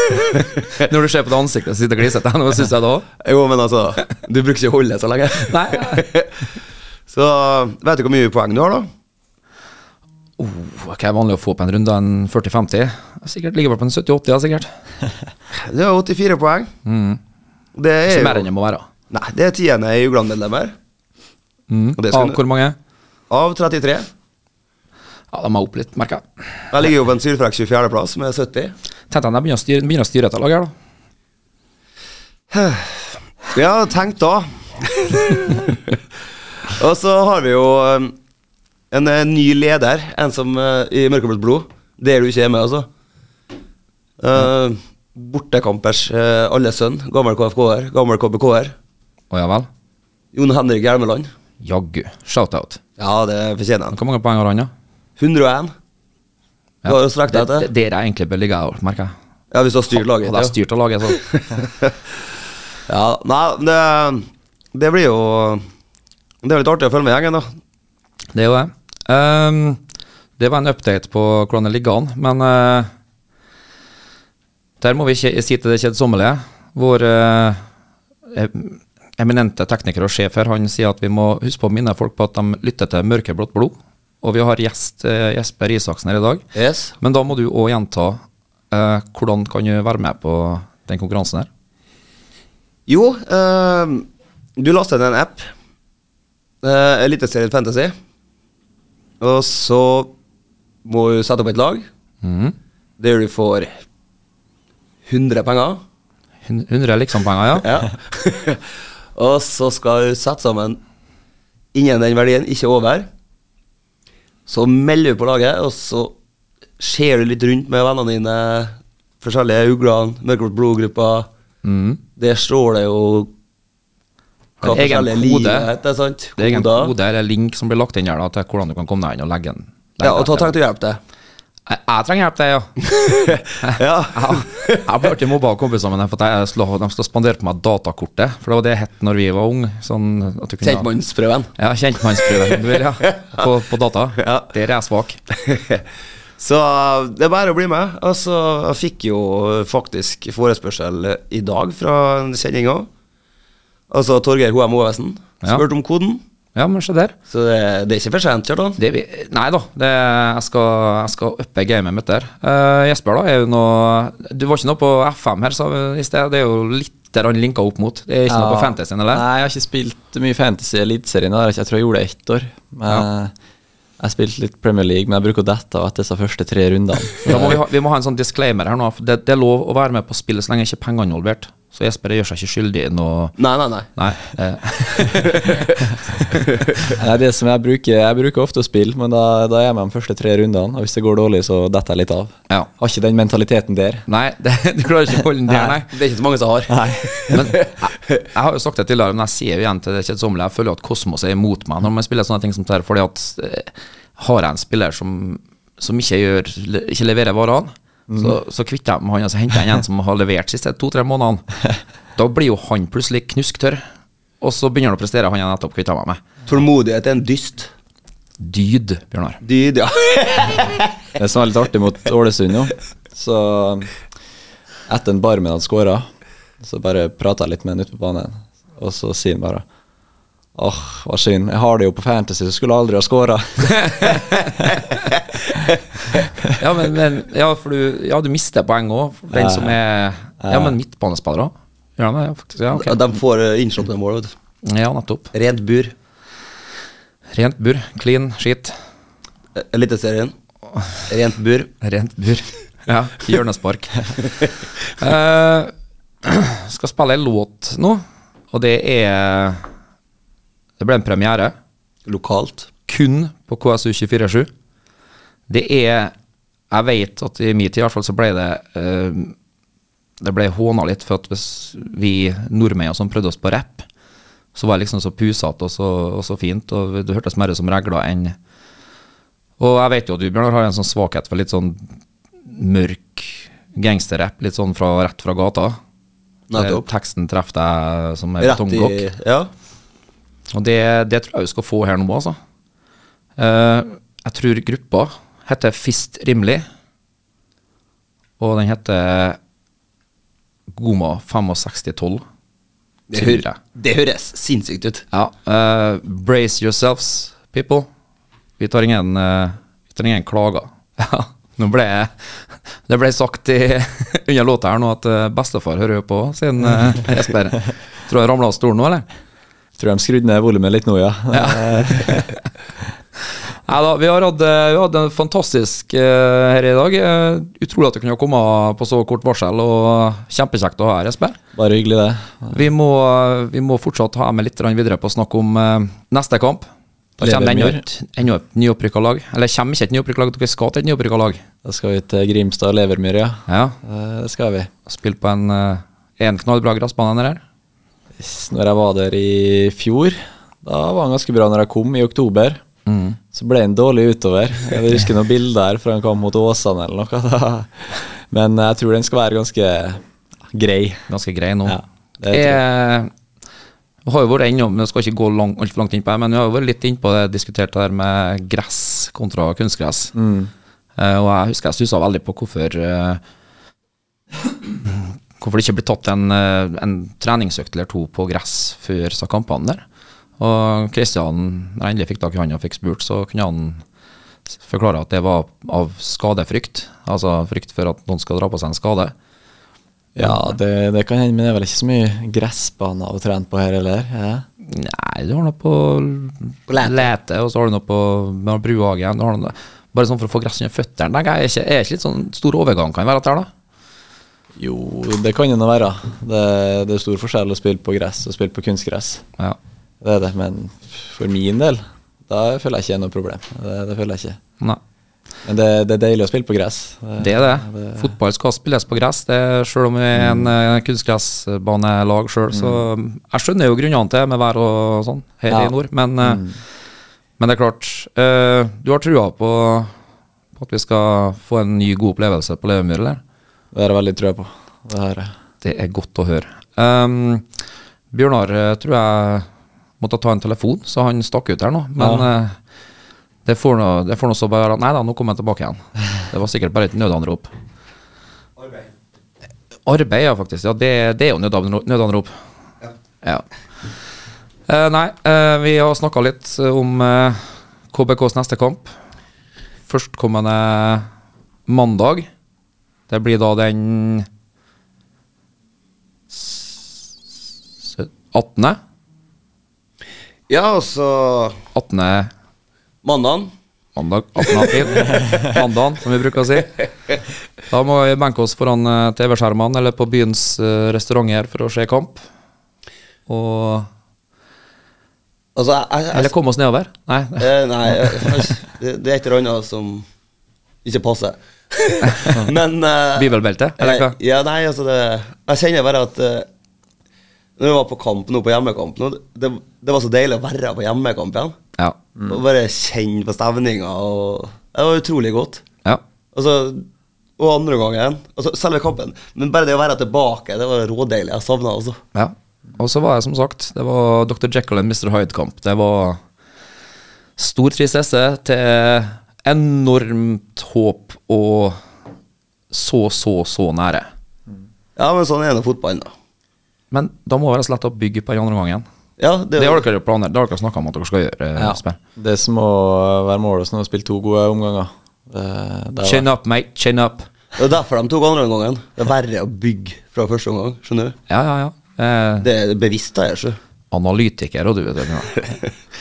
D: Når du ser på det ansiktet som sitter glisete, nå syns jeg det òg.
B: Jo, men altså, du bruker ikke å holde så lenge.
D: Nei.
B: Så vet du hvor mye poeng du har, da?
D: Hva er vanlig å få på en runde? En 40-50? Sikkert ligger vel på en 70-80, ja, sikkert.
B: Det er 84 poeng. Det er
D: Mm. Ikke
B: jo
D: mer enn det må være.
B: Nei, det er tiende Jugland-medlemmer
D: Mm.
B: Og det skal
D: Av
B: du-
D: hvor mange?
B: av 33.
D: Ja, De er opp litt, merker jeg.
B: Jeg ligger jo på en sylfrekk 24.-plass med 70.
D: Tenkte jeg de begynner å styre, begynner å styre etter lag her, da.
B: Ja, tenk da. og så har vi jo um, en eh, ny leder, en som eh, i mørkeblått blod. Det er du ikke er med, altså. Eh, bortekampers eh, alle sønn. Gammel KFK-er, gammel KBK-er.
D: Å ja vel.
B: Jon Henrik Hjelmeland.
D: Jaggu. Shout-out.
B: Ja, det fortjener han.
D: Hvor mange poeng har han, da?
B: 101.
D: Ja.
B: Du har jo strekt deg
D: Det- det-
B: etter.
D: Der jeg egentlig bør ligge, jeg, merker jeg.
B: Ja, hvis du har styrt laget.
D: Hadde jeg
B: ja.
D: styrt av laget, så
B: Ja, nei, det, det blir jo Det er jo litt artig å følge med gjengen, da.
D: Det er jo det. Ehm, det var en update på hvordan det ligger an, men eh, der må vi ikke si til det kjedsommelige. Vår eh, em- eminente tekniker og sjef her, han sier at vi må huske på å minne folk på at de lytter til mørkeblått blod. Og vi har gjest eh, Jesper Isaksen her i dag.
B: Yes.
D: Men da må du òg gjenta eh, hvordan kan du være med på den konkurransen her?
B: Jo, eh, du laster ned en app. Uh, Eliteserien Fantasy. Og så må du sette opp et lag
D: Mhm.
B: der du får 100 penger.
D: Hun- 100 liksompenger, ja.
B: Ja. og så skal du sette sammen innen den verdien, ikke over. Så melder du på laget, og så ser du litt rundt med vennene dine. Forskjellige uglene, mørkeblått blodgruppa.
D: Mhm.
B: Der står det jo hva
D: En egen
B: forskjellige
D: kode.
B: lier heter, sant?
D: Det er ingen
B: Koder.
D: kode eller link som blir lagt inn her da, til hvordan du kan komme deg inn og legge den. legge
B: Ja, og da
D: den
B: trengte du hjelp til.
D: etter. jeg, jeg trenger hjelp, til, ja.
B: Ja.
D: Jeg, jeg ble alltid mobba av kompisene mine for at jeg, slo- de skulle spandere på meg datakortet. For det var det jeg het når vi var unge. Sånn at du kunne-
B: Kjentmannsprøven.
D: Ja, kjentmannsprøven. du vil, Ja. På, på data.
B: Ja.
D: Der er jeg svak.
B: Så det er bare å bli med. Og så jeg fikk jo faktisk forespørsel i dag fra en kjenning òg. Altså Torgeir Hoem Ovesen.
D: Ja.
B: Spurte om koden.
D: Ja, men se der.
B: Så det, det er ikke for sent, Kjartan.
D: Det, vi- nei da, det, jeg, skal, jeg skal uppe gamet mitt der. Eh, Jesper, da, er jo noe Du var ikke noe på FM her sa vi i sted? Det er jo litt der han linka opp mot. Det er ikke noe på fantasyen, eller?
E: Nei, jeg har ikke spilt mye Fantasy i Eliteserien. da. Jeg tror jeg gjorde det ett år. Men eh, Jeg spilte litt Premier League, men jeg bruker å dette av etter disse første tre rundene.
D: Da må vi, ha, vi må ha en sånn disclaimer her nå. for Det, det er lov å være med på spillet så lenge ikke penger er involvert. Så Jesper gjør seg ikke skyldig i noe
B: Nei, nei, nei.
D: Nei. Eh,
E: Nei, det som jeg bruker Jeg bruker ofte å spille, men da, da er jeg med de første tre rundene. Og hvis det går dårlig, så detter jeg litt av.
D: Ja.
E: Har ikke den mentaliteten der.
D: nei det, du klarer ikke å holde den der, nei.
B: Det er ikke så mange som har.
D: Men jeg, jeg har jo sagt det tidligere, men jeg sier jo igjen til det kjedsommelige. Jeg føler jo at kosmos er imot meg når man spiller sånne ting som det her. Fordi at eh, har jeg en spiller som, som ikke, gjør, ikke leverer varene, så, så kvitter jeg meg med han, og så henter jeg en igjen som har levert de siste to-tre månedene. Da blir jo han plutselig knusktørr, og så begynner han å prestere, han jeg nettopp kvitta meg med.
B: Tålmodighet er en dyst.
D: Dyd, Bjørnar.
B: Dyd, ja.
E: Det som var litt artig mot Ålesund, jo. Så etter en barmen hadde skåra, så bare prata jeg litt med han ute på banen, og så sier han bare Åh, hva synd. Jeg har det jo på Fantasy, så skulle jeg aldri ha skåra.
D: Ja, men, men ja, for du, ja, du mister poeng òg. Den som er Ja, men midtbanespillere òg. Ja, men, ja, faktisk, ja, ok.
B: De får eh, innslupne mål. vet du.
D: ja, nettopp.
B: Rent bur.
D: Rent bur. Clean skit.
B: Eh, Eliteserien. Rent bur.
D: Rent bur. Ja. Hjørnespark. Eh, skal spille en låt nå, og det er Det ble en premiere.
B: Lokalt.
D: kun på KSU247. Det er Jeg vet at i min tid i hvert fall så ble det eh, Det ble håna litt for at hvis vi nordmenn som prøvde oss på rapp, så var det liksom så pusete og, så- og så fint, og det hørtes mer ut som regler enn Og jeg vet jo at du, Bjørnar, har en sånn svakhet for litt sånn mørk gangsterrapp, litt sånn fra, rett fra gata.
B: Nettopp.
D: Eh, Teksten treffer deg som er
B: Rett i
D: betongblokk.
B: Ja.
D: Og det, det tror jeg vi skal få her nå, altså. Eh, jeg tror gruppa heter Fist Rimelig. Og den heter Goma 6512.
B: Det,
D: Tror
B: hø-
D: jeg.
B: det høres sinnssykt ut.
D: Ja. eh, brace yourselves, people. Vi tar ingen, eh, vi tar ingen klager. Ja, nå ble jeg Det ble sagt i, under låta her nå at eh, bestefar hører jo på, siden eh, Jesper Tror jeg ramla av stolen nå, eller?
E: Tror de skrudde ned volumet litt nå, ja.
D: Nei da, vi har hatt, eh, vi har hatt en fantastisk eh, her i dag. Eh, utrolig at det kunne komme på så kort varsel, og eh, kjempekjekt å ha her, Espen.
E: Bare hyggelig, det.
D: Vi må, eh, vi må fortsatt ha med litt grann videre på å snakke om eh, neste kamp. Da kommer det enda
E: Levermyr.
D: et, enda et nyopprykka lag. Eller kommer ikke et nyopprykka lag, dere skal til et nyopprykka lag.
E: Da skal vi til Grimstad og Levermyr, ja.
D: Ja,
E: Eh, Det skal vi.
D: Spilt på en, eh, en knallbra gressbane der. her.
E: Når jeg var der i fjor, da var han ganske bra når jeg kom, i oktober. Så ble han dårlig utover. Jeg husker noen bilder her fra han kom mot Åsane eller noe. Da. Men jeg tror den skal være ganske grei.
D: Ganske grei nå.
E: Ja, det tror jeg.
D: jeg har jo vært innom, men jeg skal ikke gå lang, altfor langt inn på det, men vi har jo vært litt innpå det, diskutert det der med gress kontra kunstgress.
E: Mm.
D: Eh, og jeg husker jeg stussa veldig på hvorfor eh, Hvorfor det ikke ble tatt en, eh, en treningsøkt eller to på gress før disse kampene der. Og Kristian, når jeg endelig fikk tak i han og fikk spurt, så kunne han s- forklare at det var av skadefrykt. Altså frykt for at noen skal dra på seg en skade.
E: Ja, det, det kan hende, men det er vel ikke så mye gressbaner å trene på her heller. Ja.
D: Nei, du har noe på, lete. og så har du noe på med Bruhagen. du har noe- Bare sånn for å få gress under føttene. tenker Jeg er ikke, er ikke litt sånn stor overgang kan være at det er, da.
E: Jo, det kan det nå være. Det, det er stor forskjell å spille på gress og spille på kunstgress.
D: Ja.
E: Det er det, men for min del, da føler jeg ikke det er noe problem. Det, det føler jeg ikke.
D: Nei.
E: Men det, det er deilig å spille på gress.
D: Det er det. Fotball skal spilles på gress, det, selv om vi er en eh, kunstgressbanelag sjøl. Så mm, jeg skjønner jo grunnene til det med vær og sånn her
E: Ja.
D: i nord, men, eh, men det er klart. eh, du har trua på, på at vi skal få en ny, god opplevelse på Levermyr, eller?
E: Det har jeg veldig trua på. Det har jeg.
D: Det er godt å høre. Ehm, Bjørnar eh, tror jeg måtte ta en telefon, så han stakk ut her nå. Men eh, det får nå det får nå så bare Nei da, nå kommer jeg tilbake igjen. Det var sikkert bare et nødanrop. Arbeid. Arbeid, ja, faktisk. Ja, det, det er jo nødanrop. nødanrop. Ja. Eh, nei, eh, vi har snakka litt om eh, KBKs neste kamp. Førstkommende mandag. Det blir da den sø- 18.
B: Ja, og så
D: 18.
G: Mandagen
D: mandag 18. april. Mandagen, som vi bruker å si. Da må vi benke oss foran eh, TV-skjermene eller på byens eh, restauranter for å se kamp. Og
G: Altså, jeg, jeg,
D: Eller komme oss nedover. Nei.
G: Eh, nei, jeg- det det er et eller annet som ikke passer. Men eh,
D: Bibelbelte, eller hva?
G: eh, Ja, nei, altså det Jeg kjenner bare at eh, Når jeg var på kamp nå, på hjemmekamp nå, det, det var så deilig å være på hjemmekamp igjen.
D: Ja.
G: Og bare kjenne på stemninga og Det var utrolig godt.
D: ja.
G: Altså, og andre gangen. Altså, selve kampen. Men bare det å være tilbake, det var rådeilig. Jeg savna det, altså.
D: ja. Og så var jeg, som sagt, det var Dr. Jekyll og Mr. Hyde-kamp. Det var stor tristesse til enormt håp og så, så, så nære.
G: Ja, men sånn er nå fotballen, da.
D: Men da må det være så lett å bygge på den andre gangen.
G: Ja, det,
D: Det har dere jo planer, det har dere snakka om at dere skal gjøre. eh,
E: Ja.
D: Espen.
E: Det som må være målet nå, å spille to gode omganger. Det, det er
D: Chin up, mate. Chin up.
G: det er derfor de tok andre gangen. Det er verre å bygge fra første omgang, skjønner du.
D: Ja, ja, ja. Eh,
G: Det er bevisst, da, jeg sjø.
D: analytiker og du, vet du.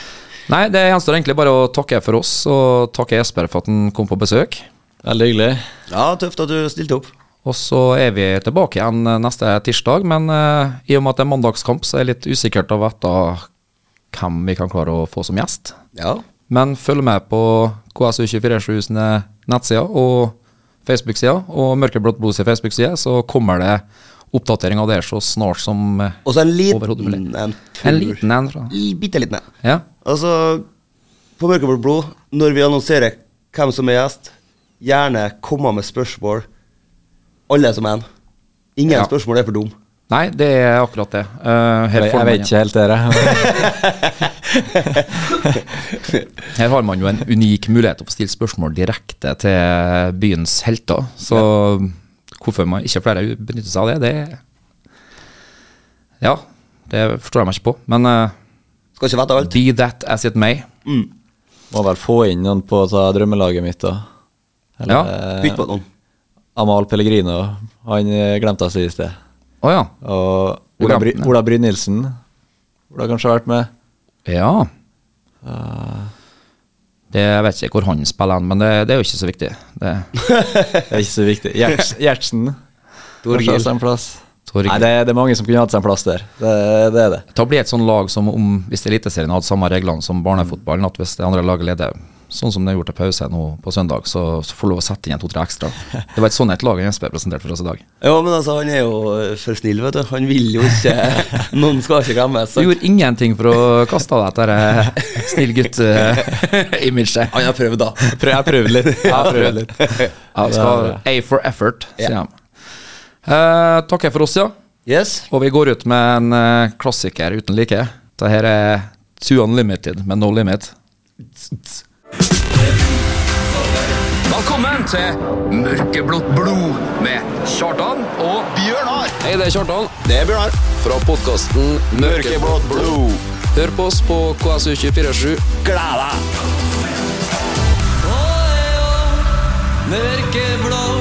D: Nei, det gjenstår egentlig bare å takke for oss, og takke Jesper for at han kom på besøk.
E: veldig hyggelig.
G: Ja, tøft at du stilte opp.
D: Og så er vi tilbake igjen eh, neste tirsdag, men eh, i og med at det er mandagskamp, så er det litt usikkert å vite hvem vi kan klare å få som gjest.
G: Ja.
D: Men følg med på KSU247 sine nettsider og Facebook-sider, og Mørkeblått blod sin Facebook-side, så kommer det oppdatering av det så snart som eh,
G: Og så en
D: Overhodet
G: liten
D: mulig.
G: en.
D: en liten en fra
G: Bitte liten en.
D: Ja,
G: Altså, på Mørkeblått blod, når vi annonserer hvem som er gjest, gjerne komme med spørsmål. Alle som er en. Ingen
D: Ja.
G: spørsmål er for dum.
D: Nei, det er akkurat det. Eh, her,
E: Jeg,
D: får
E: jeg
D: man,
E: vet ikke helt det. jeg.
D: her har man jo en unik mulighet til å få stille spørsmål direkte til byens helter. Så hvorfor man ikke flere benytter seg av det, det Ja, det forstår jeg meg ikke på. Men eh,
G: Skal ikke vite alt.
D: be that as it may.
E: Må vel få inn noen på ta drømmelaget mitt. Da.
D: Ja.
G: Bytt på noen.
E: eh, Amahl Pellegrino. Han eh, glemte jeg å si i sted.
D: Å ja.
E: Og Ola, Bry
D: Programmene.
E: Ola Brynildsen burde kanskje ha vært med.
D: Ja. Det, jeg vet ikke hvor han spiller hen, men det, det er jo ikke så viktig. Det,
E: Det er ikke så viktig. Gjerts, Gjertsen.
G: Torgill.
E: Kanskje ha seg en plass.
D: Torgill.
E: Nei, det, er- det er mange som kunne hatt seg en plass der. Det,
G: eh,
E: det er det.
D: da blir det et sånt lag som om hvis Eliteserien hadde samme reglene som barnefotballen, at hvis det andre laget leder, sånn som det er gjort til pause nå på søndag, så, så får du lov å sette inn en to-tre ekstra. Det var et sånt et lag Jesper presenterte for oss i dag.
G: Ja, men altså, han er jo eh, for snill, vet du. Han vil jo ikke Noen skal ikke glemmes.
D: Du
G: sant?
D: gjorde ingenting for å kaste av deg dette eh, snill eh, gutt-imaget.
G: Han har prøvd, da.
E: Prøv, jeg har prøvd litt. Jeg har prøvd litt.
D: Ja, vi skal ha A for effort, sier de. Eh, takker for oss, ja.
G: Yes.
D: Og vi går ut med en eh, klassiker uten like. Dette her er Too Unlimited med No Limit.
A: Velkommen til Mørkeblått blod med Kjartan og Bjørnar.
C: Hei, det er Kjartan. Det er Bjørnar. Fra podkasten Mørkeblått blod. Hør på oss på KSU247. Gled deg! Mørkeblått